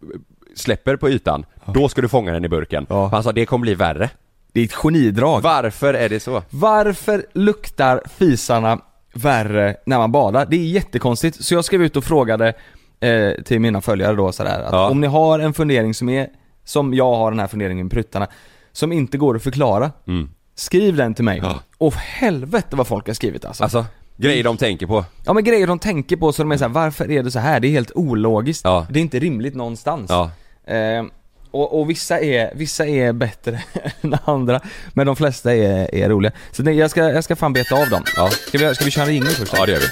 [SPEAKER 1] släpper på ytan, då ska du fånga den i burken.
[SPEAKER 2] Ja.
[SPEAKER 1] Han sa det kommer bli värre.
[SPEAKER 2] Det är ett genidrag.
[SPEAKER 1] Varför är det så?
[SPEAKER 2] Varför luktar fisarna värre när man badar? Det är jättekonstigt, så jag skrev ut och frågade eh, till mina följare då sådär att
[SPEAKER 1] Ja.
[SPEAKER 2] om ni har en fundering som är, som jag har den här funderingen med pruttarna, som inte går att förklara,
[SPEAKER 1] Mm.
[SPEAKER 2] skriv den till mig.
[SPEAKER 1] Ja.
[SPEAKER 2] Och helvete vad folk har skrivit alltså.
[SPEAKER 1] Alltså, grejer de tänker på.
[SPEAKER 2] Ja men grejer de tänker på så de är såhär, varför är det så här? Det är helt ologiskt.
[SPEAKER 1] Ja.
[SPEAKER 2] Det är inte rimligt någonstans.
[SPEAKER 1] Ja.
[SPEAKER 2] Eh, och, och vissa är, vissa är bättre än andra, men de flesta är, är roliga. Så nej, jag, ska, jag ska fan beta av dem.
[SPEAKER 1] Ja.
[SPEAKER 2] Ska, vi, ska vi köra en jingel först?
[SPEAKER 1] Ja det gör vi.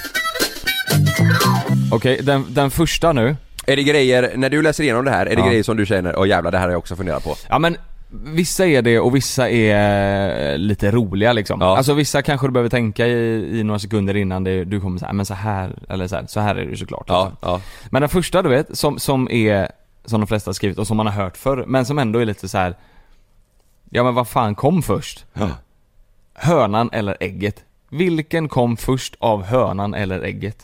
[SPEAKER 2] Okej, den, den första nu.
[SPEAKER 1] Är det grejer, när du läser igenom det här, är det
[SPEAKER 2] Ja.
[SPEAKER 1] grejer som du känner åh jävlar det här har jag också funderat på?
[SPEAKER 2] Ja men vissa är det och vissa är eh, lite roliga liksom.
[SPEAKER 1] Ja.
[SPEAKER 2] Alltså vissa kanske du behöver tänka i, i några sekunder innan det, du kommer säga men så här eller så här, så här är det ju såklart.
[SPEAKER 1] Ja,
[SPEAKER 2] liksom.
[SPEAKER 1] ja.
[SPEAKER 2] Men den första du vet, som, som är, som de flesta har skrivit och som man har hört förr, men som ändå är lite så här. Ja men vad fan kom först? Hönan eller ägget? Vilken kom först av hönan eller ägget?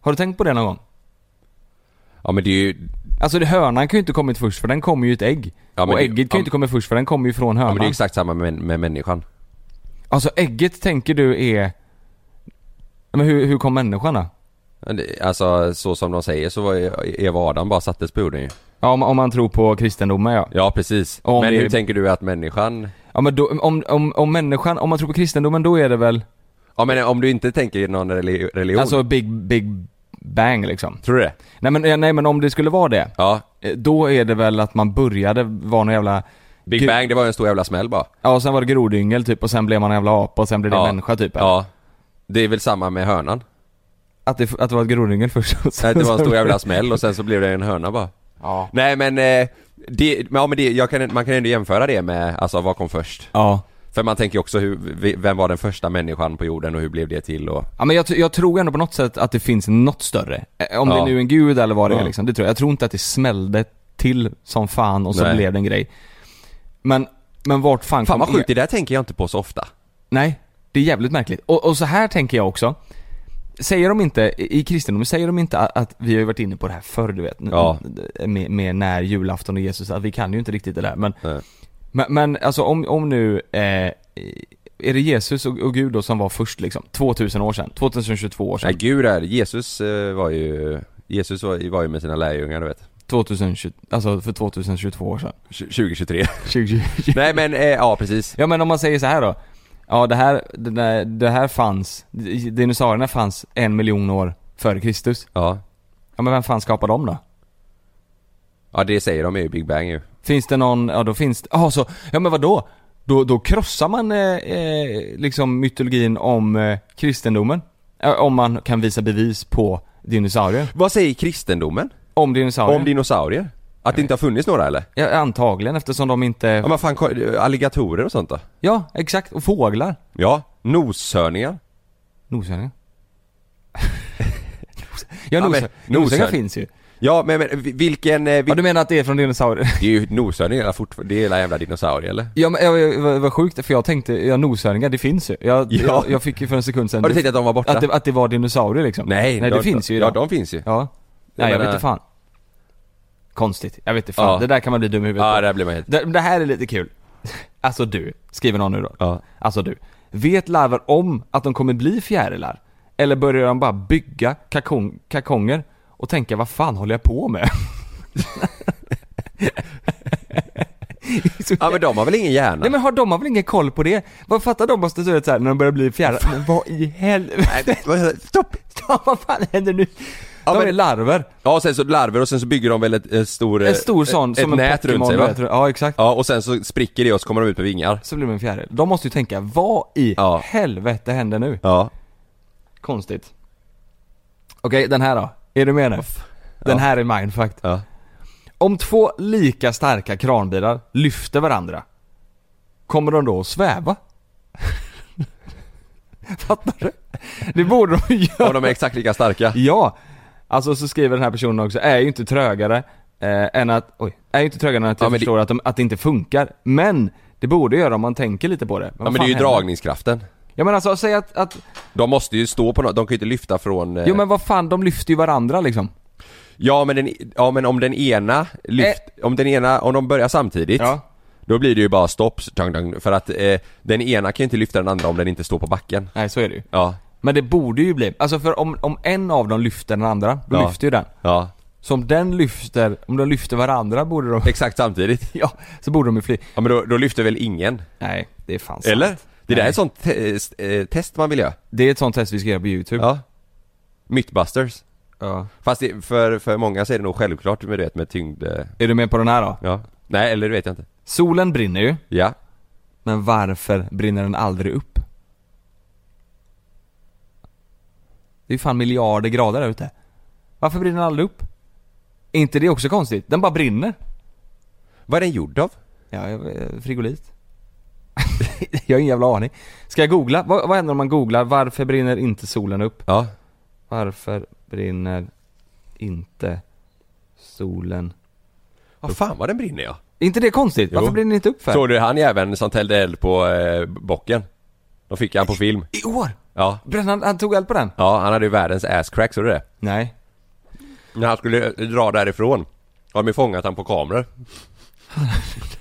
[SPEAKER 2] Har du tänkt på det någon gång?
[SPEAKER 1] Ja men det är ju,
[SPEAKER 2] Alltså det- hönan kan ju inte kommit först för den kommer ju i ett ägg.
[SPEAKER 1] Ja, men
[SPEAKER 2] och
[SPEAKER 1] det-
[SPEAKER 2] ägget
[SPEAKER 1] ja,
[SPEAKER 2] kan ju inte kommit först för den kommer ju från
[SPEAKER 1] ja,
[SPEAKER 2] hönan.
[SPEAKER 1] men det är ju exakt samma med, med människan.
[SPEAKER 2] Alltså ägget tänker du är... Men hur, hur kom människan då?
[SPEAKER 1] Men det- Alltså så som de säger så var ju- Eva och Adam bara sattes på jorden ju.
[SPEAKER 2] Ja, om, om man tror på kristendomen ja.
[SPEAKER 1] Ja precis.
[SPEAKER 2] Om
[SPEAKER 1] men
[SPEAKER 2] det-
[SPEAKER 1] hur tänker du att människan
[SPEAKER 2] Ja men då, om, om, om människan, om man tror på kristendomen då är det väl...
[SPEAKER 1] Ja men om du inte tänker i någon reli- religion,
[SPEAKER 2] Alltså big, big bang liksom.
[SPEAKER 1] tror du det?
[SPEAKER 2] Nej men, eh, nej men om det skulle vara det,
[SPEAKER 1] Ja.
[SPEAKER 2] eh, då är det väl att man började vara någon jävla...
[SPEAKER 1] Big
[SPEAKER 2] Gud.
[SPEAKER 1] Bang det var ju en stor jävla smäll bara.
[SPEAKER 2] Ja, och sen var det grodyngel typ och sen blev man en jävla apa och sen blev det
[SPEAKER 1] ja.
[SPEAKER 2] människa typ. eller?
[SPEAKER 1] Ja. Det är väl samma med hönan?
[SPEAKER 2] Att, det, att det var ett grodyngel först och sen,
[SPEAKER 1] Nej, det var en stor jävla smäll och sen så blev det en höna bara.
[SPEAKER 2] Ja.
[SPEAKER 1] Nej men, eh, det, men, ja, men det, jag kan, man kan ändå jämföra det med alltså vad kom först?
[SPEAKER 2] Ja.
[SPEAKER 1] För man tänker ju också hur, vi- vem var den första människan på jorden och hur blev det till och...
[SPEAKER 2] Ja men jag, t- jag tror ändå på något sätt att det finns något större. Eh, Om
[SPEAKER 1] Ja.
[SPEAKER 2] det nu är en gud eller vad det
[SPEAKER 1] Ja.
[SPEAKER 2] är liksom, det tror jag. Jag tror inte att det smällde till som fan och så
[SPEAKER 1] Nej.
[SPEAKER 2] blev det en grej. Men, men vart fan,
[SPEAKER 1] Fan
[SPEAKER 2] kom
[SPEAKER 1] vad sjukt,
[SPEAKER 2] er-
[SPEAKER 1] det där tänker jag inte på så ofta.
[SPEAKER 2] Nej, det är jävligt märkligt. Och, och så här tänker jag också. Säger de inte, i i kristendomen, säger de inte att, att vi har ju varit inne på det här förr du vet,
[SPEAKER 1] Ja.
[SPEAKER 2] med, med när julafton och Jesus, att vi kan ju inte riktigt det där men
[SPEAKER 1] Nej.
[SPEAKER 2] Men, men alltså om, om nu, eh, är det Jesus och, och Gud då som var först liksom? 2000 år sedan? 2022 år sedan?
[SPEAKER 1] Nej gud är, Jesus eh, var ju, Jesus var, var ju med sina lärjungar du vet.
[SPEAKER 2] 2020, alltså för 2022 år sedan.
[SPEAKER 1] Tj- 2023.
[SPEAKER 2] 2020.
[SPEAKER 1] Nej men, eh, ja precis.
[SPEAKER 2] Ja men om man säger så här då. Ja det här, det, där, det här fanns, dinosaurierna fanns en miljon år före Kristus.
[SPEAKER 1] Ja.
[SPEAKER 2] Ja men vem fan skapade dem då?
[SPEAKER 1] Ja det säger de är ju Big Bang ju.
[SPEAKER 2] Finns det någon, ja då finns det, ja så, ja men vadå? Då, då krossar man eh, eh, liksom mytologin om eh, kristendomen. Ja, Om man kan visa bevis på dinosaurier.
[SPEAKER 1] Vad säger kristendomen?
[SPEAKER 2] Om dinosaurier.
[SPEAKER 1] Om dinosaurier? Att det inte har funnits några eller?
[SPEAKER 2] ja, antagligen eftersom de
[SPEAKER 1] Ja
[SPEAKER 2] inte,
[SPEAKER 1] men fan, ko- eh, alligatorer och sånt då?
[SPEAKER 2] ja exakt, och fåglar.
[SPEAKER 1] Ja, noshörningar?
[SPEAKER 2] Noshörningar? ja, nos-
[SPEAKER 1] men
[SPEAKER 2] noshörningar
[SPEAKER 1] noshörn-
[SPEAKER 2] finns ju.
[SPEAKER 1] Ja men, men vi- vilken, eh,
[SPEAKER 2] Ja,
[SPEAKER 1] vil...
[SPEAKER 2] du menar att det är från dinosaurier?
[SPEAKER 1] det är ju noshörningar fortfarande, det är hela jävla dinosaurier eller?
[SPEAKER 2] Ja men jag, jag, vad- vad sjukt, för jag tänkte, ja noshörningar det finns ju. Jag,
[SPEAKER 1] Ja.
[SPEAKER 2] jag, jag fick ju för en sekund sedan
[SPEAKER 1] Har du tänkt att de var borta?
[SPEAKER 2] att, det, att det var dinosaurier liksom.
[SPEAKER 1] Nej,
[SPEAKER 2] Nej
[SPEAKER 1] de,
[SPEAKER 2] det finns ju
[SPEAKER 1] Ja
[SPEAKER 2] idag.
[SPEAKER 1] de finns ju. Ja,
[SPEAKER 2] Ja. Nej jag
[SPEAKER 1] menar-
[SPEAKER 2] vet inte fan. Konstigt, jag vet inte fan.
[SPEAKER 1] Ja.
[SPEAKER 2] Det där kan man bli dum i huvudet på.
[SPEAKER 1] där blir man helt...
[SPEAKER 2] det, det här är lite kul. Alltså du, skriver någon nu då.
[SPEAKER 1] Ja.
[SPEAKER 2] Alltså du. Vet larver om att de kommer bli fjärilar? Eller börjar de bara bygga kakong, kakonger och tänka vad fan håller jag på med?
[SPEAKER 1] Ja men de har väl ingen hjärna?
[SPEAKER 2] Nej men har de har väl ingen koll på det? Vad fattar de måste se ut såhär när de börjar bli fjärilar? Men vad i helvete?
[SPEAKER 1] Stopp!
[SPEAKER 2] Ja, vad fan händer nu?
[SPEAKER 1] Ja,
[SPEAKER 2] de
[SPEAKER 1] men-
[SPEAKER 2] är larver.
[SPEAKER 1] Ja och sen så larver och sen så bygger de väl ett, ett stor...
[SPEAKER 2] En stor sån
[SPEAKER 1] Eh, ett,
[SPEAKER 2] som
[SPEAKER 1] ett
[SPEAKER 2] en
[SPEAKER 1] nät runt sig va?
[SPEAKER 2] Pokémon. Ja exakt.
[SPEAKER 1] Ja och sen så spricker det och så kommer de ut med vingar.
[SPEAKER 2] Så blir de en fjäril. De måste ju tänka, vad i
[SPEAKER 1] Ja.
[SPEAKER 2] helvete händer nu?
[SPEAKER 1] Ja.
[SPEAKER 2] Konstigt. Okej, den här då. Är du med nu? Den här är mindfuck.
[SPEAKER 1] Ja.
[SPEAKER 2] Om två lika starka kranbilar lyfter varandra, kommer de då att sväva? Fattar du? Det borde de ju göra.
[SPEAKER 1] Och de är exakt lika starka.
[SPEAKER 2] Ja! Alltså så skriver den här personen också, är ju inte trögare eh, än att, oj, är ju inte trögare än att
[SPEAKER 1] Ja,
[SPEAKER 2] jag
[SPEAKER 1] men det-
[SPEAKER 2] förstår att, de, att det inte funkar. Men, det borde göra om man tänker lite på det.
[SPEAKER 1] Ja
[SPEAKER 2] vad
[SPEAKER 1] men det
[SPEAKER 2] fan
[SPEAKER 1] är ju
[SPEAKER 2] händer?
[SPEAKER 1] dragningskraften.
[SPEAKER 2] Ja men alltså säg att, att
[SPEAKER 1] De måste ju stå på något, de kan ju inte lyfta från... eh,
[SPEAKER 2] jo men vad fan, de lyfter ju varandra liksom.
[SPEAKER 1] Ja men, den, e-, ja men om den ena lyft, om den ena, om de börjar samtidigt
[SPEAKER 2] Eh. Ja.
[SPEAKER 1] Då blir det ju bara stopp, tang, tang, för att eh, den ena kan ju inte lyfta den andra om den inte står på backen
[SPEAKER 2] Nej så är det ju.
[SPEAKER 1] Ja,
[SPEAKER 2] Men det borde ju bli, alltså för om, om en av dem lyfter den andra, då
[SPEAKER 1] Ja.
[SPEAKER 2] lyfter ju den.
[SPEAKER 1] Ja,
[SPEAKER 2] Så om den lyfter, om de lyfter varandra borde de,
[SPEAKER 1] exakt samtidigt.
[SPEAKER 2] ja, så borde de ju fly.
[SPEAKER 1] Ja men då, då lyfter väl ingen?
[SPEAKER 2] Nej, det är fan sant.
[SPEAKER 1] Eller? Det där är
[SPEAKER 2] Nej. Typ.
[SPEAKER 1] ett sånt te- eh, test man vill göra.
[SPEAKER 2] Det är ett sånt test vi ska göra på youtube.
[SPEAKER 1] Ja. Mythbusters.
[SPEAKER 2] Ja.
[SPEAKER 1] Fast det, för, för många så är det nog självklart med, du vet, med tyngd... eh,
[SPEAKER 2] Är du med på den här då?
[SPEAKER 1] Ja. Nej, eller det vet jag inte.
[SPEAKER 2] Solen brinner ju,
[SPEAKER 1] Ja.
[SPEAKER 2] men varför brinner den aldrig upp? Det är ju fan miljarder grader där ute. Varför brinner den aldrig upp? Är inte det också konstigt? Den bara brinner.
[SPEAKER 1] Vad är den gjord av?
[SPEAKER 2] Ja, jag- eh, frigolit. jag har ingen jävla aning. Ska jag googla? Vad, vad händer om man googlar 'Varför brinner inte solen upp?'
[SPEAKER 1] Ja.
[SPEAKER 2] Varför brinner inte solen?
[SPEAKER 1] Vad fan vad den brinner ja.
[SPEAKER 2] Är inte det konstigt?
[SPEAKER 1] Jo.
[SPEAKER 2] Varför brinner den inte upp för?
[SPEAKER 1] Såg du han jäveln som tällde eld på eh, bocken? De fick han på film.
[SPEAKER 2] I år?
[SPEAKER 1] Ja.
[SPEAKER 2] Brände han, han tog eld på den?
[SPEAKER 1] Ja, han hade ju världens asscrack, såg du det?
[SPEAKER 2] Nej.
[SPEAKER 1] När han skulle eh, dra därifrån har de ju fångat han på kameror.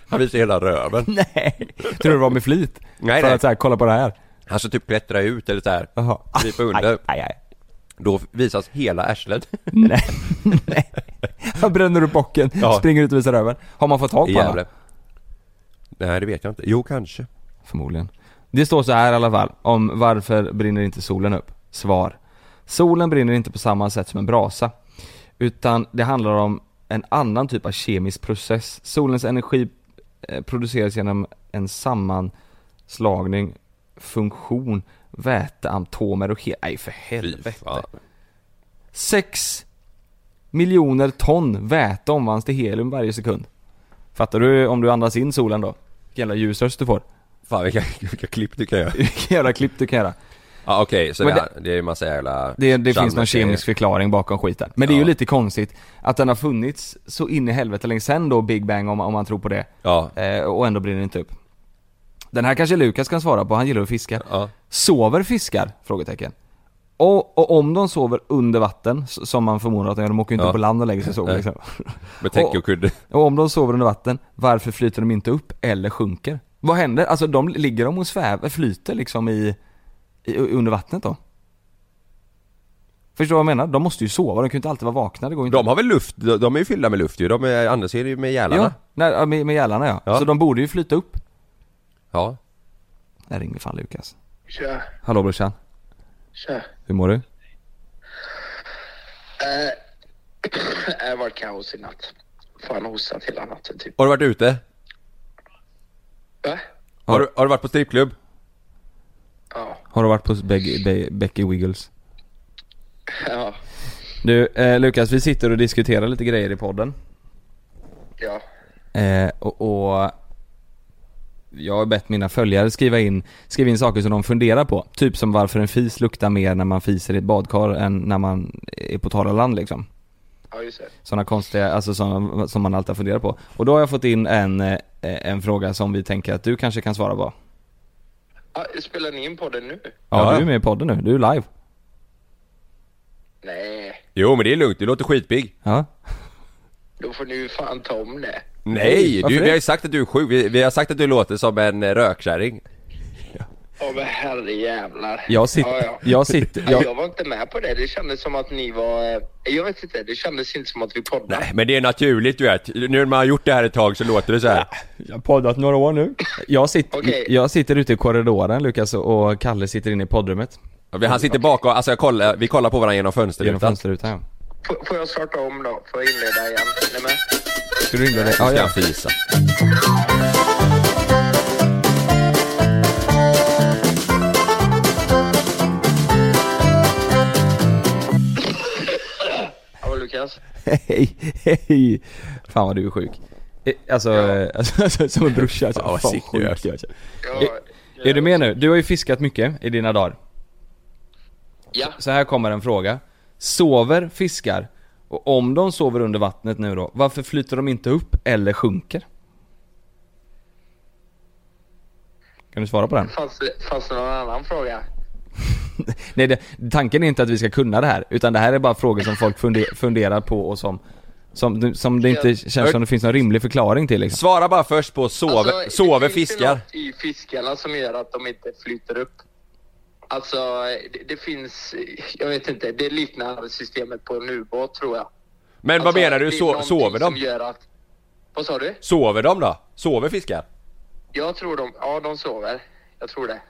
[SPEAKER 1] Han visade hela röven.
[SPEAKER 2] Nej. Tror du det var med flit?
[SPEAKER 1] Nej,
[SPEAKER 2] för
[SPEAKER 1] nej.
[SPEAKER 2] att så här, kolla på det här.
[SPEAKER 1] Han ska typ klättra ut eller så här.
[SPEAKER 2] Jaha.
[SPEAKER 1] Krypa under.
[SPEAKER 2] Aj, aj, aj.
[SPEAKER 1] Då visas hela arslet.
[SPEAKER 2] Nej. nej. Han bränner upp bocken,
[SPEAKER 1] Ja.
[SPEAKER 2] springer ut och visar röven. Har man fått tag
[SPEAKER 1] I
[SPEAKER 2] på honom?
[SPEAKER 1] Gävle. Nej, det vet jag inte. Jo, kanske.
[SPEAKER 2] Förmodligen. Det står så här i alla fall, om varför brinner inte solen upp? Svar. Solen brinner inte på samma sätt som en brasa. Utan det handlar om en annan typ av kemisk process. Solens energi eh, produceras genom en sammanslagning, funktion, väteatomer och hel... Nej för
[SPEAKER 1] Fy
[SPEAKER 2] helvete.
[SPEAKER 1] fan.
[SPEAKER 2] 6 miljoner ton väte omvandlas till helium varje sekund. Fattar du om du andas in solen då? Vilken jävla ljusröst du får.
[SPEAKER 1] Fan vilka, vilka klipp du kan göra.
[SPEAKER 2] Vilka jävla klipp du kan göra.
[SPEAKER 1] Ja okej, så det,
[SPEAKER 2] Men
[SPEAKER 1] här- det är ju massa jävla...
[SPEAKER 2] Det, det finns någon
[SPEAKER 1] Chalmers-grejer.
[SPEAKER 2] kemisk förklaring bakom skiten. Men det är ju
[SPEAKER 1] Ja.
[SPEAKER 2] lite konstigt att den har funnits så in i helvete länge sen då, Big Bang om, om man tror på det.
[SPEAKER 1] Ja.
[SPEAKER 2] Eh, och ändå brinner det inte upp. Den här kanske Lukas kan svara på, han gillar att fiska.
[SPEAKER 1] Ja.
[SPEAKER 2] Sover fiskar? Frågetecken. Och, och om de sover under vatten, s- som man förmodar att de gör, de åker ju inte
[SPEAKER 1] Ja.
[SPEAKER 2] upp på land och lägger sig och sover
[SPEAKER 1] Nej.
[SPEAKER 2] liksom.
[SPEAKER 1] Med täcke och kudde.
[SPEAKER 2] Och om de sover under vatten, varför flyter de inte upp eller sjunker? Vad händer? Alltså de ligger de och svävar, flyter liksom i, i under vattnet då? Förstår du vad jag menar? De måste ju sova, de kan ju inte alltid vara vakna, det går ju inte.
[SPEAKER 1] De har väl luft, de de är ju fyllda med luft ju. De är, annars är det ju med
[SPEAKER 2] ja,
[SPEAKER 1] gälarna.
[SPEAKER 2] nej, ja, med, med gälarna ja.
[SPEAKER 1] Ja.
[SPEAKER 2] Så de borde ju flyta upp.
[SPEAKER 1] Ja.
[SPEAKER 2] Där ringer fan Lukas.
[SPEAKER 5] Tja,
[SPEAKER 2] Hallå brorsan,
[SPEAKER 5] tja.
[SPEAKER 2] hur mår du?
[SPEAKER 5] Det har varit Äh, kaos i natt. Fan hostat hela natten typ. Äh?
[SPEAKER 1] Har du varit ute?
[SPEAKER 5] Va?
[SPEAKER 1] Har, du, har du varit på strippklubb?
[SPEAKER 5] Ja.
[SPEAKER 2] Har du varit på Be- Be- Becky Wiggles?
[SPEAKER 5] Ja.
[SPEAKER 2] Du eh, Lukas, vi sitter och diskuterar lite grejer i podden.
[SPEAKER 5] Ja.
[SPEAKER 2] Eh, och, och jag har bett mina följare skriva in, skriva in saker som de funderar på. Typ som varför en fis luktar mer när man fiser i ett badkar än när man är på torra land liksom.
[SPEAKER 5] Ja, just det.
[SPEAKER 2] Sådana konstiga, alltså som, som man alltid har funderat på. Och då har jag fått in en, eh, en fråga som vi tänker att du kanske kan svara på.
[SPEAKER 5] Ah, spelar ni in podden nu?
[SPEAKER 2] Ja,
[SPEAKER 1] Ja.
[SPEAKER 2] du är med i podden nu, du är live.
[SPEAKER 5] Nej.
[SPEAKER 1] Jo men det är lugnt, du låter skitpigg.
[SPEAKER 2] Ja.
[SPEAKER 5] Då får ni ju fan ta om det.
[SPEAKER 1] Nej!
[SPEAKER 2] varför
[SPEAKER 1] Du,
[SPEAKER 2] det?
[SPEAKER 1] vi har ju sagt att du är sjuk, vi, vi har sagt att du låter som en eh, rökkärring.
[SPEAKER 5] Ja, men herrejävlar.
[SPEAKER 2] Jag sitter,
[SPEAKER 5] Ja, ja.
[SPEAKER 2] jag sitter,
[SPEAKER 5] Ja,
[SPEAKER 2] jag,
[SPEAKER 5] jag var inte med på det. Det kändes som att ni var... eh, Jag vet inte, det kändes inte som att vi poddade.
[SPEAKER 1] Nej men det är naturligt du vet. Nu när man har gjort det här ett tag så låter det så här.
[SPEAKER 2] Jag har poddat några år nu. Jag sitter,
[SPEAKER 5] Okej.
[SPEAKER 2] jag sitter ute i korridoren Lukas och och Kalle sitter inne i poddrummet.
[SPEAKER 1] Vi- Han sitter bakom, alltså jag kollar, vi kollar på varandra genom
[SPEAKER 2] Genom
[SPEAKER 1] fönsterrutan.
[SPEAKER 2] fönsterrutan. ja.
[SPEAKER 5] Får, får jag starta om då? Får jag inleda igen? Är ni med?
[SPEAKER 2] Ska du ringa dig?
[SPEAKER 1] Nu
[SPEAKER 2] Ja,
[SPEAKER 1] ska
[SPEAKER 2] ja.
[SPEAKER 1] han fisa.
[SPEAKER 5] Hallå Lukas?
[SPEAKER 2] Hej, hej! Fan vad du är sjuk. Eh, Alltså, eh, alltså, alltså som en brorsa. Alltså,
[SPEAKER 1] Fan, vad sick du är.
[SPEAKER 2] jag är.
[SPEAKER 5] Ja,
[SPEAKER 2] Är du med nu? Du har ju fiskat mycket i dina dagar.
[SPEAKER 5] Ja.
[SPEAKER 2] Så här kommer en fråga. Sover fiskar? Och om de sover under vattnet nu då, varför flyter de inte upp eller sjunker? Kan du svara på den?
[SPEAKER 5] Fanns, det- fanns det någon annan fråga?
[SPEAKER 2] Nej, det, tanken är inte att vi ska kunna det här, utan det här är bara frågor som folk funde- funderar på och som, som, som det inte känns som det finns någon rimlig förklaring till liksom.
[SPEAKER 1] Svara bara först på sover,
[SPEAKER 5] Alltså,
[SPEAKER 1] sover
[SPEAKER 5] finns det
[SPEAKER 1] fiskar?
[SPEAKER 5] något i fiskarna som gör att de inte flyter upp? Alltså, det, det finns... Jag vet inte. Det liknar systemet på en ubåt, tror jag.
[SPEAKER 1] Men vad
[SPEAKER 5] Alltså,
[SPEAKER 1] menar du?
[SPEAKER 5] det är
[SPEAKER 1] So-
[SPEAKER 5] någonting
[SPEAKER 1] sover
[SPEAKER 5] som
[SPEAKER 1] de?
[SPEAKER 5] Gör att, vad sa du?
[SPEAKER 1] Sover de då? Sover fiskar?
[SPEAKER 5] Jag tror de... Ja, de sover. Jag tror det.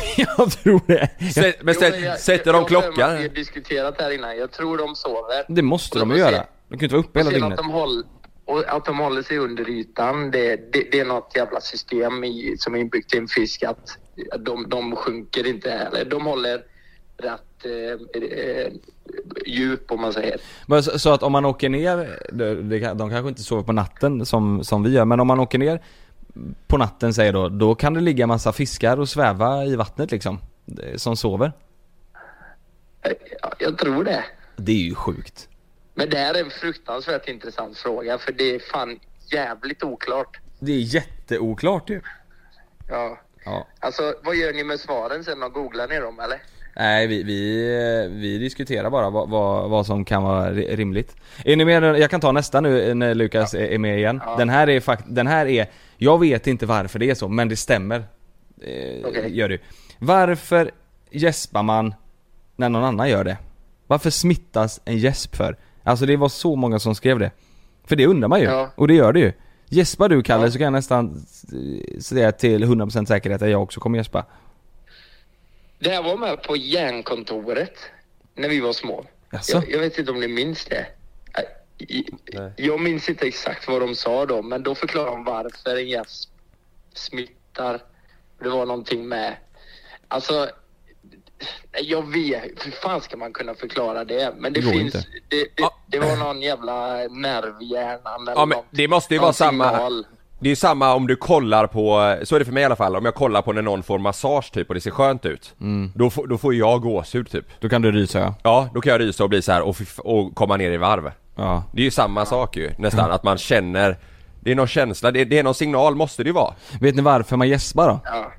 [SPEAKER 2] jag tror det.
[SPEAKER 1] Sä- men
[SPEAKER 5] Jo,
[SPEAKER 1] sä-
[SPEAKER 5] jag-
[SPEAKER 1] sätter
[SPEAKER 5] jag-
[SPEAKER 1] de
[SPEAKER 5] jag har för mig att Vi
[SPEAKER 1] klockan?
[SPEAKER 5] har diskuterat det här innan. Jag tror de sover.
[SPEAKER 2] Det måste de ju göra. De kan ju inte vara uppe hela
[SPEAKER 5] Sen att
[SPEAKER 2] dygnet.
[SPEAKER 5] de, håll, och att de håller sig under ytan, det, det, det är något jävla system i, som är inbyggt i en fisk att de, de sjunker inte heller. De håller rätt eh, eh, djup om man säger.
[SPEAKER 2] Men så, så att om man åker ner, det, det, kan- de kanske inte sover på natten som, som vi gör, men om man åker ner på natten säger då, då kan det ligga massa fiskar och sväva i vattnet liksom. eh, Som sover.
[SPEAKER 5] Eh, ja, Jag tror det.
[SPEAKER 2] Det är ju sjukt.
[SPEAKER 5] Men det här är en fruktansvärt intressant fråga för det är fan jävligt oklart.
[SPEAKER 2] Det är jätteoklart ju.
[SPEAKER 5] Ja.
[SPEAKER 2] Ja.
[SPEAKER 5] Alltså vad gör ni med svaren sen då? Googlar ni dem eller?
[SPEAKER 2] Nej, vi, vi, eh, vi diskuterar bara vad, vad, vad som kan vara ri- rimligt. Är ni med? Jag kan ta nästa nu eh, när Lukas är är med igen. Den här är fakt- den här är, jag vet inte varför det är så, men det stämmer. Eh,
[SPEAKER 5] Okej.
[SPEAKER 2] Gör det. Varför gäspar man när någon annan gör det? Varför smittas en gäsp för? Alltså det var så många som skrev det. För det undrar man ju,
[SPEAKER 5] Ja.
[SPEAKER 2] och det gör det ju. Gäspar du Kalle
[SPEAKER 5] Ja.
[SPEAKER 2] så kan jag nästan eh, säga till 100% säkerhet att jag också kommer gäspa.
[SPEAKER 5] Det här var med på järnkontoret när vi var små.
[SPEAKER 2] Jaså?
[SPEAKER 5] Jag, jag vet inte om ni minns det? Äh, i- Jag minns inte exakt vad de sa då, men då förklarade de varför en gäst smittar. Det var någonting med... Alltså, nej, jag vet Hur fan ska man kunna förklara det? Men det
[SPEAKER 2] Det går
[SPEAKER 5] finns...
[SPEAKER 2] inte. Ah.
[SPEAKER 5] Det, det,
[SPEAKER 1] Ja.
[SPEAKER 5] det var någon jävla nerv i hjärnan eller
[SPEAKER 1] Ja men
[SPEAKER 5] något,
[SPEAKER 1] det måste ju
[SPEAKER 5] någon
[SPEAKER 1] vara samma...
[SPEAKER 5] signal.
[SPEAKER 1] Det är ju samma om du kollar på, så är det för mig i alla fall, om jag kollar på när någon får massage typ och det ser skönt ut.
[SPEAKER 2] Mm.
[SPEAKER 1] Då, får- då får jag gåshud typ.
[SPEAKER 2] Då kan du rysa ja.
[SPEAKER 1] Ja, då kan jag rysa och bli så här och, fy f- och komma ner i varv.
[SPEAKER 2] Ja.
[SPEAKER 1] Det är ju samma sak ju nästan, att man känner Det är någon känsla, det, det är någon signal måste det ju vara
[SPEAKER 2] Vet ni varför man gäspar då?
[SPEAKER 5] Ja.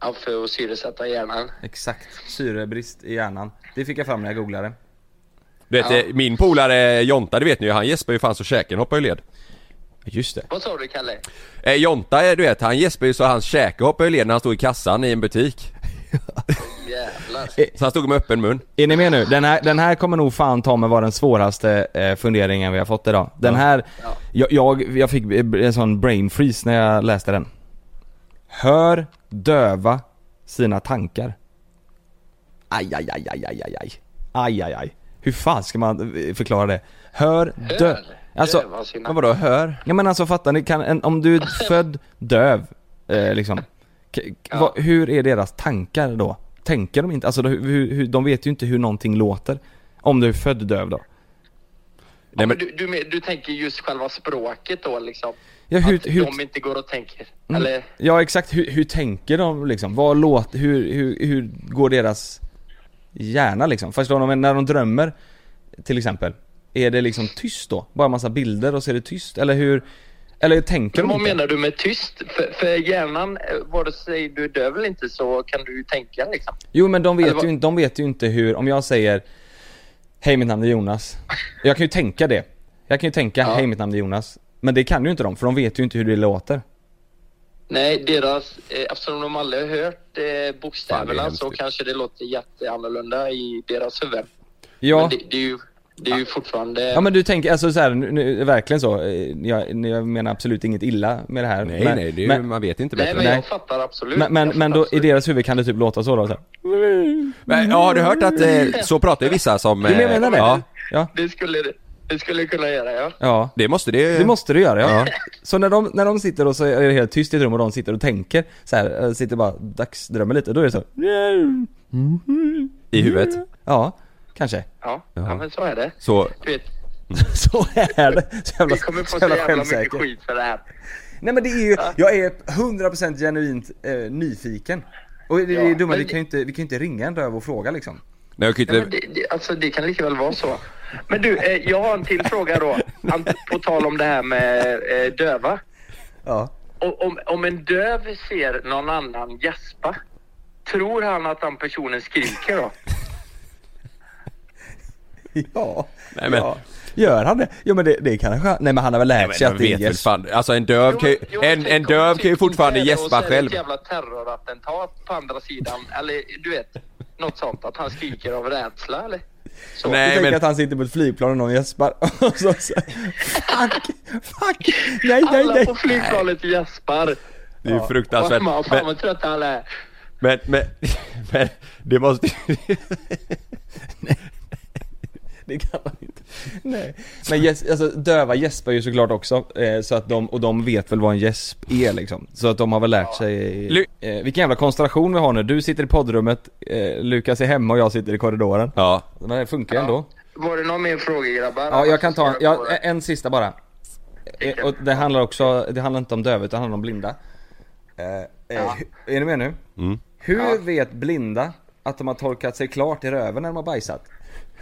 [SPEAKER 5] ja, för att syresätta hjärnan.
[SPEAKER 2] Exakt, syrebrist i hjärnan. Det fick jag fram när jag googlade.
[SPEAKER 1] Du vet,
[SPEAKER 5] Ja.
[SPEAKER 1] eh, min polare Jonta, det vet ni ju, han gäspar ju fan så käken hoppar ju led
[SPEAKER 2] Just det.
[SPEAKER 5] Vad sa du, Kalle?
[SPEAKER 1] eh, Jonta, eh, du vet, han gäspar ju så hans käke hoppar ju led när han stod i kassan i en butik
[SPEAKER 5] Jävlar.
[SPEAKER 1] Så han stod med öppen mun
[SPEAKER 2] Är ni med nu? Den här, den här kommer nog fan ta mig vara den svåraste eh, funderingen vi har fått idag. Den här, jag, jag, jag fick en sån brain freeze när jag läste den. Hör döva sina tankar. Aj, aj, aj, aj, aj, aj, aj. Aj, aj, aj. Hur fan ska man eh, förklara det? Hör dö...
[SPEAKER 5] Hör
[SPEAKER 2] Alltså,
[SPEAKER 5] döva sina-
[SPEAKER 1] Men vadå, hör?
[SPEAKER 2] Ja men alltså fattar ni, kan en, om du är född döv, eh, liksom. K- k- vad- hur är deras tankar då? Tänker de inte, alltså hur, hur, hur, de vet ju inte hur någonting låter. Om du är född döv då.
[SPEAKER 1] Nej,
[SPEAKER 5] Ja,
[SPEAKER 1] men,
[SPEAKER 5] men... du, du, men- du tänker just själva språket då liksom?
[SPEAKER 2] Ja, hur,
[SPEAKER 5] att
[SPEAKER 2] hur, Mm.
[SPEAKER 5] de inte går och tänker? Eller?
[SPEAKER 2] ja exakt, hur, hur tänker de liksom? Vad låter, hur, hur, hur går deras hjärna liksom? Förstår de, när de drömmer till exempel. Är det liksom tyst då? Bara massa bilder och så är det tyst? Eller hur, eller tänker
[SPEAKER 5] Men
[SPEAKER 2] de
[SPEAKER 5] vad
[SPEAKER 2] inte?
[SPEAKER 5] menar du med tyst? För, för hjärnan, eh, vare sig du är döv eller inte så kan du ju tänka liksom.
[SPEAKER 2] Jo men de
[SPEAKER 5] Eller
[SPEAKER 2] vet,
[SPEAKER 5] vad-
[SPEAKER 2] ju, inte- de vet ju inte hur, om jag säger Hej mitt namn är Jonas. Jag kan ju tänka det. Jag kan ju tänka
[SPEAKER 5] Ja.
[SPEAKER 2] hej mitt namn är Jonas. Men det kan ju inte de för de vet ju inte hur det låter.
[SPEAKER 5] Nej, deras, eh, eftersom de aldrig har hört eh, bokstäverna
[SPEAKER 1] hemskt
[SPEAKER 5] så
[SPEAKER 1] ju.
[SPEAKER 5] kanske det låter jätteannorlunda i deras huvud.
[SPEAKER 2] Ja,
[SPEAKER 5] Men det, det är ju, det är ju fortfarande...
[SPEAKER 2] ja men du tänker, alltså så här, nu, nu, verkligen så. Eh, Jag, nu- jag menar absolut inget illa med det här.
[SPEAKER 1] nej,
[SPEAKER 2] men,
[SPEAKER 1] nej, det är ju,
[SPEAKER 2] men,
[SPEAKER 1] man vet inte
[SPEAKER 5] nej,
[SPEAKER 1] bättre
[SPEAKER 5] men
[SPEAKER 2] nej.
[SPEAKER 5] jag fattar absolut.
[SPEAKER 2] men, men,
[SPEAKER 5] Jag
[SPEAKER 2] men
[SPEAKER 5] fattar
[SPEAKER 2] då, i
[SPEAKER 5] absolut.
[SPEAKER 2] deras huvud kan det typ låta så då. Så här.
[SPEAKER 1] men, ja, har du hört att eh, så pratar ju vissa som...
[SPEAKER 2] Du
[SPEAKER 1] eh,
[SPEAKER 2] menar det?
[SPEAKER 1] Ja,
[SPEAKER 2] ja.
[SPEAKER 5] Det skulle det, det skulle kunna göra, ja.
[SPEAKER 2] ja.
[SPEAKER 1] det måste det ju...
[SPEAKER 2] Det måste du göra ja. Så när de, när de sitter och så är det helt tyst i ett rum och de sitter och tänker så här, eh, sitter bara dagsdrömmer lite, då är det så.
[SPEAKER 1] I huvudet
[SPEAKER 2] Ja, kanske.
[SPEAKER 5] Ja, ja men så är det.
[SPEAKER 1] Så,
[SPEAKER 5] Du vet,
[SPEAKER 2] Så är det. Så jävla,
[SPEAKER 5] vi kommer
[SPEAKER 2] så
[SPEAKER 5] få så
[SPEAKER 2] jävla
[SPEAKER 5] jävla mycket
[SPEAKER 2] självsäker.
[SPEAKER 5] skit för det här.
[SPEAKER 2] Nej men det är ju, jag är 100% genuint eh, nyfiken. Och det, det är
[SPEAKER 5] Ja,
[SPEAKER 2] dumma,
[SPEAKER 5] men
[SPEAKER 2] vi
[SPEAKER 5] det-
[SPEAKER 2] kan ju inte, vi kan ju inte ringa en röv och fråga liksom.
[SPEAKER 1] nej jag kan
[SPEAKER 5] Ja, men
[SPEAKER 1] inte...
[SPEAKER 5] det, det, alltså det kan lika väl vara så. Men du, eh, jag har en till fråga då. An- På tal om det här med eh, döva.
[SPEAKER 2] Ja.
[SPEAKER 5] O- Om, om en döv ser någon annan gäspa, tror han att den personen skriker då?
[SPEAKER 2] ja.
[SPEAKER 1] Nej, men-
[SPEAKER 2] ja. Gör han det? Jo men det, det kanske han... Nej men han har väl lärt sig
[SPEAKER 1] Jag
[SPEAKER 2] att det
[SPEAKER 1] vet
[SPEAKER 2] är
[SPEAKER 1] väl
[SPEAKER 2] yes.
[SPEAKER 1] fan, alltså en döv kan ju,
[SPEAKER 5] Jo, men
[SPEAKER 1] en, en
[SPEAKER 5] tänk om
[SPEAKER 1] döv kan ju
[SPEAKER 5] Putin
[SPEAKER 1] fortfarande
[SPEAKER 5] är där
[SPEAKER 1] gäspa
[SPEAKER 5] Och så är det
[SPEAKER 1] själv.
[SPEAKER 5] ett jävla terrorattentat på andra sidan. Eller du vet, något sånt. Att han skriker av rädsla eller? Så.
[SPEAKER 1] Nej.
[SPEAKER 2] Jag tänker
[SPEAKER 1] men-
[SPEAKER 2] att han sitter på ett flygplan och någon gäspar och så säger Fuck! Fuck! Nej, nej,
[SPEAKER 5] Alla
[SPEAKER 2] nej!
[SPEAKER 5] på flygplanet gäspar.
[SPEAKER 1] Det är ju fruktansvärt.
[SPEAKER 5] Fan vad-
[SPEAKER 1] Alltså,
[SPEAKER 5] fan
[SPEAKER 1] Men,
[SPEAKER 5] vad trötta alla är.
[SPEAKER 1] men, men, men det måste ju...
[SPEAKER 2] Det kan han inte. Nej. Men gäs- alltså, döva gäspar ju såklart också, eh, så att de, och de vet väl vad en gäsp är liksom. Så att de har väl lärt sig...
[SPEAKER 1] Lu-
[SPEAKER 2] Eh, vilken jävla konstellation vi har nu. Du sitter i poddrummet, eh, Lukas är hemma och jag sitter i korridoren.
[SPEAKER 1] Ja,
[SPEAKER 2] Men det funkar ändå.
[SPEAKER 5] Var det någon mer fråga grabbar?
[SPEAKER 2] Ja, jag kan ta en,
[SPEAKER 5] Annars ska jag
[SPEAKER 2] ja,
[SPEAKER 5] gå.
[SPEAKER 2] en sista bara. Eh, Och det handlar också, det handlar inte om döva utan det handlar om blinda. Eh, eh, Är ni med nu?
[SPEAKER 1] Mm.
[SPEAKER 2] Hur vet blinda att de har torkat sig klart i röven när de har bajsat?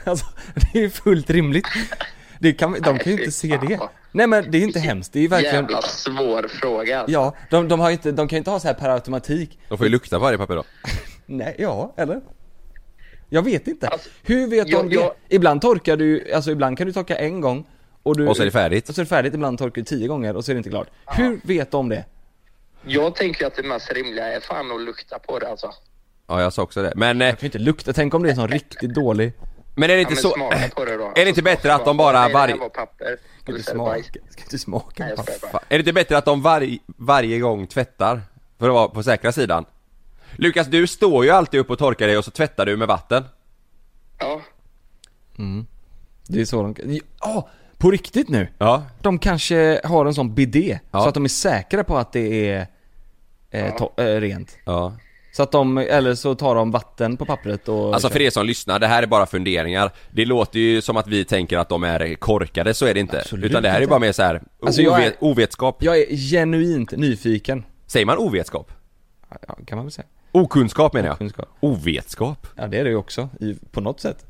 [SPEAKER 2] Alltså, det är ju fullt rimligt. Det kan, de kan ju inte se det. Nej men det är inte hemskt, det är ju verkligen...
[SPEAKER 5] Jävla svår fråga. alltså.
[SPEAKER 2] Ja, de, de, har ju inte, de kan ju inte ha så här per automatik.
[SPEAKER 1] de får ju lukta på varje papper då.
[SPEAKER 2] Nej, ja, eller? Jag vet inte.
[SPEAKER 5] Alltså,
[SPEAKER 2] Hur vet de
[SPEAKER 5] jag-
[SPEAKER 2] det?
[SPEAKER 5] jag-
[SPEAKER 2] Ibland torkar du, alltså ibland kan du torka en gång och, du,
[SPEAKER 1] Och så är det färdigt.
[SPEAKER 2] Och så är det färdigt, ibland torkar du tio gånger och så är det inte klart. Hur vet de det?
[SPEAKER 5] Jag tänker att det mest rimliga är fan att lukta på det alltså.
[SPEAKER 1] Ja, jag sa också det. Men, eh,
[SPEAKER 2] Jag kan ju inte lukta, tänk om det är en sån riktigt dålig...
[SPEAKER 1] men är det
[SPEAKER 5] Ja,
[SPEAKER 1] inte
[SPEAKER 5] men
[SPEAKER 1] så...
[SPEAKER 5] smaka på det då.
[SPEAKER 1] Är det inte bättre att de bara varje...
[SPEAKER 5] varje... var papper.
[SPEAKER 2] Ska du
[SPEAKER 5] Luktar det bajs?
[SPEAKER 2] smaka? Ska du smaka?
[SPEAKER 5] Nej, jag skojar bara.
[SPEAKER 1] Fan, Är det inte bättre att de varje- varje gång tvättar? För att vara på säkra sidan. Lukas, du står ju alltid upp och torkar dig och så tvättar du med vatten.
[SPEAKER 5] Ja.
[SPEAKER 2] det är så de kan... Ja, på riktigt nu!
[SPEAKER 1] Ja.
[SPEAKER 2] De kanske har en sån bidé,
[SPEAKER 1] Ja.
[SPEAKER 2] så att de är säkra på att det är eh, to- eh, rent.
[SPEAKER 1] Ja.
[SPEAKER 2] Så att de, eller så tar de vatten på pappret och...
[SPEAKER 1] Alltså för er som lyssnar, det här är bara funderingar. Det låter ju som att vi tänker att de är korkade, så är det inte.
[SPEAKER 2] Absolut
[SPEAKER 1] Utan det här är
[SPEAKER 2] inte.
[SPEAKER 1] bara mer så här,
[SPEAKER 2] Alltså,
[SPEAKER 1] ove-
[SPEAKER 2] jag är-
[SPEAKER 1] ovetskap.
[SPEAKER 2] Jag är genuint nyfiken.
[SPEAKER 1] Säger man ovetskap?
[SPEAKER 2] Ja, kan man väl säga.
[SPEAKER 1] Okunskap menar jag.
[SPEAKER 2] Okunskap.
[SPEAKER 1] Ovetskap.
[SPEAKER 2] Ja det är det ju också, i, på något sätt.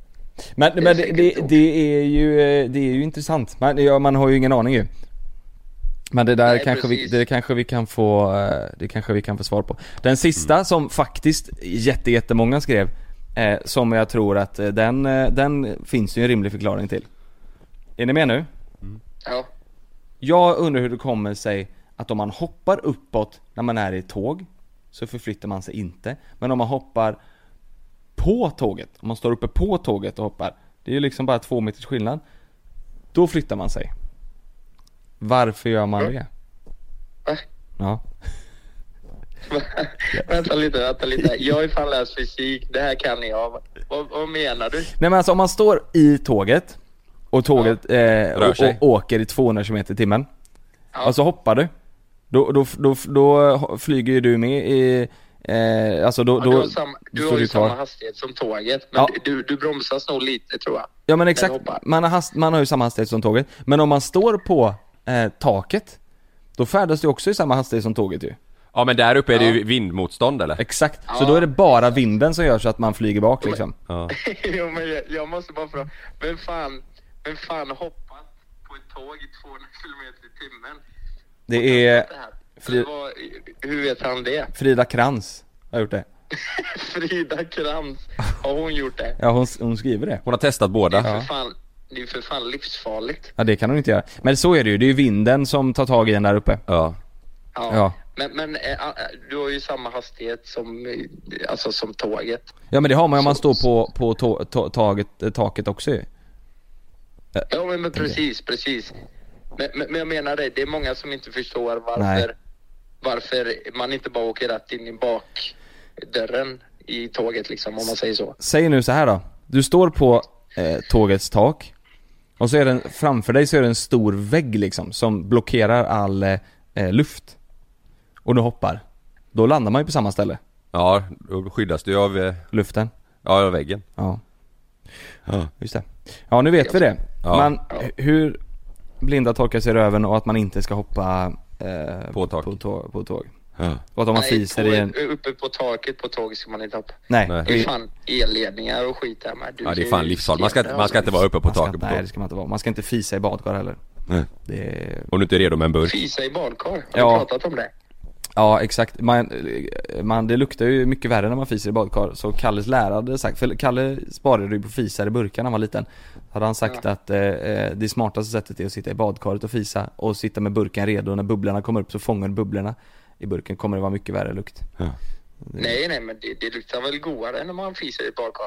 [SPEAKER 2] Men, men det, det, det, är ju, eh, det är ju intressant. Man, ja, man har ju ingen aning ju. Men det där
[SPEAKER 5] Nej,
[SPEAKER 2] kanske, vi,
[SPEAKER 5] precis.
[SPEAKER 2] det kanske vi kan få, eh, det kanske vi kan få svar på. Den sista
[SPEAKER 5] Mm.
[SPEAKER 2] som faktiskt jätte, jättemånga skrev, eh, som jag tror att eh, den, eh, den finns ju en rimlig förklaring till. Är ni med nu?
[SPEAKER 5] Ja.
[SPEAKER 2] Jag undrar hur det kommer sig att om man hoppar uppåt när man är i tåg så förflyttar man sig inte. Men om man hoppar på tåget, om man står uppe på tåget och hoppar, det är ju liksom bara två meters skillnad. Då flyttar man sig. Varför gör man det?
[SPEAKER 5] Va?
[SPEAKER 2] Ja.
[SPEAKER 5] vänta lite, vänta lite. Jag har ju fan läst fysik. Det här kan jag. Vad, vad menar du?
[SPEAKER 2] Nej men alltså om man står i tåget och tåget eh,
[SPEAKER 1] Rör sig.
[SPEAKER 2] och, och åker i 200 km i timmen.
[SPEAKER 5] Ja.
[SPEAKER 2] Och så hoppar du. Då, då, då, då flyger ju du med i, eh, alltså då,
[SPEAKER 5] Ja,
[SPEAKER 2] då,
[SPEAKER 5] du har, samma, du
[SPEAKER 2] står
[SPEAKER 5] har ju
[SPEAKER 2] kvar.
[SPEAKER 5] samma hastighet som tåget. Men
[SPEAKER 2] Ja.
[SPEAKER 5] du, du bromsas nog lite tror jag.
[SPEAKER 2] Ja men
[SPEAKER 5] Eller
[SPEAKER 2] exakt,
[SPEAKER 5] hoppar.
[SPEAKER 2] man har, hast, man har ju samma hastighet som tåget. Men om man står på eh, taket, då färdas du också i samma hastighet som tåget ju.
[SPEAKER 1] Ja men där uppe är det ju vindmotstånd eller?
[SPEAKER 2] Exakt, så då är det bara vinden som gör så att man flyger bak liksom.
[SPEAKER 1] Ja.
[SPEAKER 5] jo, men jag, jag måste bara fråga. Vem fan, vem fan har hoppat på ett tåg i 200 kilometer i timmen?
[SPEAKER 2] Det är
[SPEAKER 5] Det här.
[SPEAKER 2] Fri-
[SPEAKER 5] Det var, hur vet han det?
[SPEAKER 2] Frida Krantz har gjort det.
[SPEAKER 5] Frida Krantz, har hon gjort det?
[SPEAKER 2] Ja hon, hon skriver det.
[SPEAKER 1] Hon har testat båda.
[SPEAKER 5] För fan, det är ju för fan livsfarligt.
[SPEAKER 2] Ja det kan hon inte göra. Men så är det ju, det är ju vinden som tar tag i en där uppe.
[SPEAKER 1] Ja.
[SPEAKER 5] Ja.
[SPEAKER 2] Ja.
[SPEAKER 5] Men, men eh, ah, eh, du har ju samma hastighet som, eh, alltså, som tåget.
[SPEAKER 2] Ja men det har man ju om man står på, på tå- tå- taget, eh, taket också ju.
[SPEAKER 5] Ja men, men precis, precis. Men, men, men jag menar det, det är många som inte förstår
[SPEAKER 2] Nej.
[SPEAKER 5] varför, varför man inte bara åker rätt in i bakdörren i tåget liksom, om man säger så.
[SPEAKER 2] Säg nu så här då. Du står på eh, tågets tak och så är den, framför dig så är det en stor vägg liksom som blockerar all eh, eh, luft. Och du hoppar. Då landar man ju på samma ställe,
[SPEAKER 1] Ja, då skyddas du av, eh,
[SPEAKER 2] luften.
[SPEAKER 1] ja, av väggen.
[SPEAKER 2] Ja. Ja, just det. Ja, nu vet vi det.
[SPEAKER 1] Ja.
[SPEAKER 2] Men hur blinda torkar sig i röven och att man inte ska hoppa eh,
[SPEAKER 1] På tak.
[SPEAKER 2] På, tå- på tåg. Och att om man
[SPEAKER 5] Nej,
[SPEAKER 2] fiser
[SPEAKER 5] på-
[SPEAKER 2] i en...
[SPEAKER 5] Uppe på taket på tåg ska man inte hoppa.
[SPEAKER 2] Nej.
[SPEAKER 1] Nej.
[SPEAKER 5] Det är fan elledningar och skit där med. Du
[SPEAKER 1] Ja det är
[SPEAKER 5] kan
[SPEAKER 1] fan
[SPEAKER 5] ju
[SPEAKER 1] livsfarligt. Man ska, inte-
[SPEAKER 5] skrämma
[SPEAKER 1] man ska inte vara uppe på
[SPEAKER 2] Man ska,
[SPEAKER 1] taket
[SPEAKER 2] inte-
[SPEAKER 1] på
[SPEAKER 2] nej, det
[SPEAKER 1] tåg.
[SPEAKER 2] ska man inte vara. Man ska inte fisa i badkar heller. Det är...
[SPEAKER 1] Om du inte är redo med en burk.
[SPEAKER 5] Fisa i badkar, har
[SPEAKER 2] Ja.
[SPEAKER 5] du pratat om det?
[SPEAKER 2] Ja exakt, man, man, det luktar ju mycket värre när man fiser i badkar så Kalles lärare hade sagt, för Kalle sparade ju på fisar i burkar när han var liten Hade han sagt att eh, eh, det smartaste sättet är att sitta i badkaret och fisa och sitta med burken redo när bubblorna kommer upp så fångar du bubblorna i burken kommer det vara mycket värre lukt.
[SPEAKER 5] Nej, nej, men det, det luktar väl godare än om man fiser i ett badkar.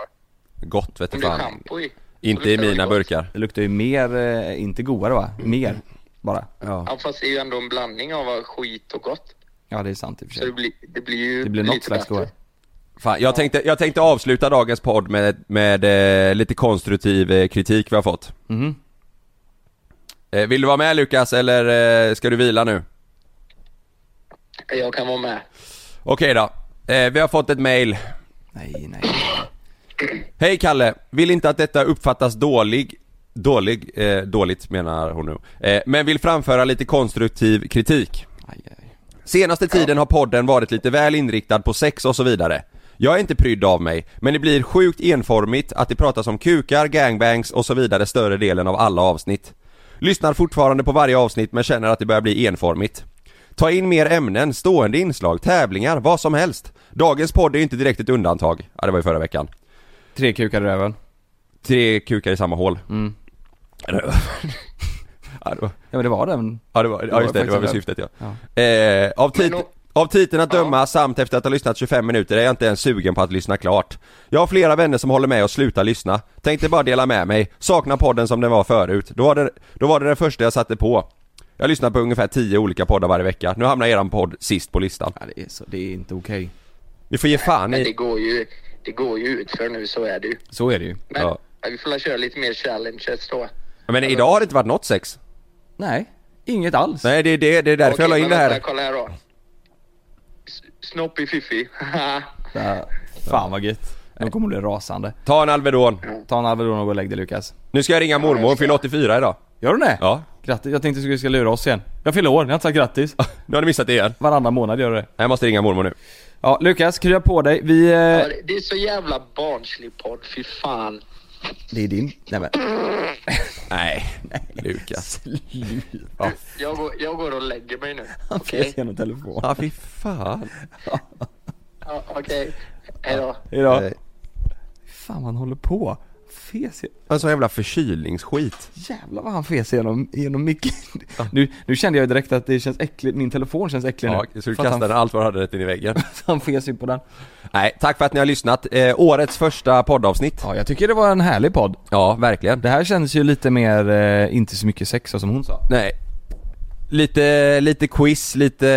[SPEAKER 1] Gott vet du
[SPEAKER 5] Om det är
[SPEAKER 1] fan.
[SPEAKER 5] schampo i.
[SPEAKER 1] Inte
[SPEAKER 5] Det
[SPEAKER 1] i
[SPEAKER 5] luktar väl
[SPEAKER 1] mina
[SPEAKER 5] gott.
[SPEAKER 1] burkar.
[SPEAKER 2] Det luktar ju mer, eh, inte godare va? Mer bara.
[SPEAKER 5] Ja, fast det är ju ändå en blandning av skit och gott.
[SPEAKER 2] Ja det är sant i och för
[SPEAKER 5] Så det
[SPEAKER 2] sig.
[SPEAKER 5] blir, det blir ju
[SPEAKER 2] Det blir något
[SPEAKER 5] lite
[SPEAKER 2] slags godare.
[SPEAKER 5] bättre.
[SPEAKER 1] Fan, jag, tänkte, jag tänkte avsluta dagens podd med, med eh, lite konstruktiv eh, kritik vi har fått.
[SPEAKER 2] Mhm.
[SPEAKER 1] Eh, vill du vara med Lukas eller eh, ska du vila nu?
[SPEAKER 5] Jag kan vara med.
[SPEAKER 1] Okej då. Eh, vi har fått ett mail.
[SPEAKER 2] Nej nej.
[SPEAKER 1] Hej Kalle! Vill inte att detta uppfattas dålig Dålig, eh, dåligt menar hon nu. Eh, men vill framföra lite konstruktiv kritik.
[SPEAKER 2] Aj, aj.
[SPEAKER 1] Senaste tiden har podden varit lite väl inriktad på sex och så vidare. Jag är inte prydd av mig, men det blir sjukt enformigt att det pratas om kukar, gangbangs och så vidare större delen av alla avsnitt. Lyssnar fortfarande på varje avsnitt men känner att det börjar bli enformigt. Ta in mer ämnen, stående inslag, tävlingar, vad som helst. Dagens podd är ju inte direkt ett undantag. Ja, det var ju förra veckan.
[SPEAKER 2] Tre kukar i röven. Mm.
[SPEAKER 1] Tre kukar i samma hål. ja, det var,
[SPEAKER 2] Ja men det var den.
[SPEAKER 1] ja, det var, ja just det, det var väl syftet ja. Eh, av, tit-
[SPEAKER 5] Men om-
[SPEAKER 1] av titeln att döma samt efter att ha lyssnat 25 minuter är jag inte ens sugen på att lyssna klart. Jag har flera vänner som håller med och slutar lyssna. Tänkte bara dela med mig. Saknar podden som den var förut. Då var det, då var det den första jag satte på. Jag lyssnar på ungefär 10 olika poddar varje vecka. Nu hamnar eran podd sist på listan.
[SPEAKER 2] Ja, det, är så, det är inte okej.
[SPEAKER 1] Vi får ge fan
[SPEAKER 5] Men det
[SPEAKER 1] i...
[SPEAKER 5] går ju, det går ju ut för nu, så är det ju.
[SPEAKER 2] Så är det ju.
[SPEAKER 5] Men
[SPEAKER 1] Ja.
[SPEAKER 5] vi får väl köra lite mer challenges då.
[SPEAKER 1] Men idag har det inte varit något sex.
[SPEAKER 2] Nej, inget alls.
[SPEAKER 1] Nej det är det, det är därför jag la
[SPEAKER 5] Okej,
[SPEAKER 1] in det
[SPEAKER 5] men
[SPEAKER 1] här.
[SPEAKER 5] vänta, Kolla här då. S- Snoppy Fiffi.
[SPEAKER 2] Ja, fan vad gött. De kommer bli rasande.
[SPEAKER 1] Ta en Alvedon.
[SPEAKER 2] Ta en Alvedon och gå och lägg dig Lukas.
[SPEAKER 1] Nu ska jag ringa mormor, hon fyller 84 idag.
[SPEAKER 2] Gör du det?
[SPEAKER 1] Ja.
[SPEAKER 2] Grattis, jag tänkte att du skulle lura oss igen. Jag fyller år, ni har inte sagt grattis.
[SPEAKER 1] Nu har ni missat det igen.
[SPEAKER 2] Varannan månad gör du det.
[SPEAKER 1] Jag måste ringa mormor nu.
[SPEAKER 2] Ja, Lukas, krya på dig. Vi... Eh...
[SPEAKER 5] Ja, det- det är så jävla barnslig podd, fy fan.
[SPEAKER 2] Det är din. Nej men.
[SPEAKER 1] Nej, Lukas.
[SPEAKER 5] Jag går, jag går och lägger mig nu.
[SPEAKER 2] Okej.
[SPEAKER 5] Okej?
[SPEAKER 2] Genom telefon.
[SPEAKER 1] Ja, fy fan.
[SPEAKER 5] Ja, Okej. Hej då.
[SPEAKER 2] Hejdå.
[SPEAKER 1] Eh,
[SPEAKER 2] Fan man håller på. Fes i-
[SPEAKER 1] En sån jävla förkylningsskit.
[SPEAKER 2] Jävlar vad han fes genom, genom micken. Nu, nu kände jag ju direkt att det känns äckligt, min telefon känns äcklig
[SPEAKER 1] Ja,
[SPEAKER 2] nu.
[SPEAKER 1] så du
[SPEAKER 2] För att han-
[SPEAKER 1] kastade allt vad du hade rätt in i väggen.
[SPEAKER 2] Han fes ju på den.
[SPEAKER 1] Nej, tack för att ni har lyssnat. Eh, årets första poddavsnitt.
[SPEAKER 2] Ja, jag tycker det var en härlig podd.
[SPEAKER 1] Ja, verkligen.
[SPEAKER 2] Det här känns ju lite mer, eh, inte så mycket sex som hon sa.
[SPEAKER 1] Nej. Lite, lite quiz, lite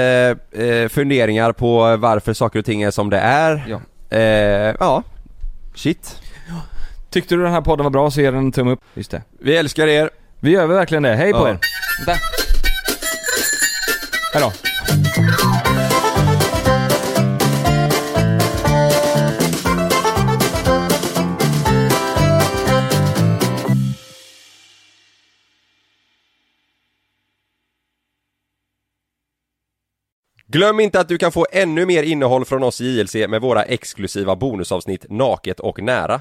[SPEAKER 1] eh, funderingar på varför saker och ting är som det är.
[SPEAKER 2] Ja.
[SPEAKER 1] Eh, ja. Shit.
[SPEAKER 2] Tyckte du den här podden var bra så ge den en tumme upp. Just det.
[SPEAKER 1] Vi älskar er.
[SPEAKER 2] Vi gör väl verkligen det. Hej på
[SPEAKER 1] Ja.
[SPEAKER 2] er. Vänta. Hejdå.
[SPEAKER 1] Glöm inte att du kan få ännu mer innehåll från oss i JLC med våra exklusiva bonusavsnitt Naket och nära.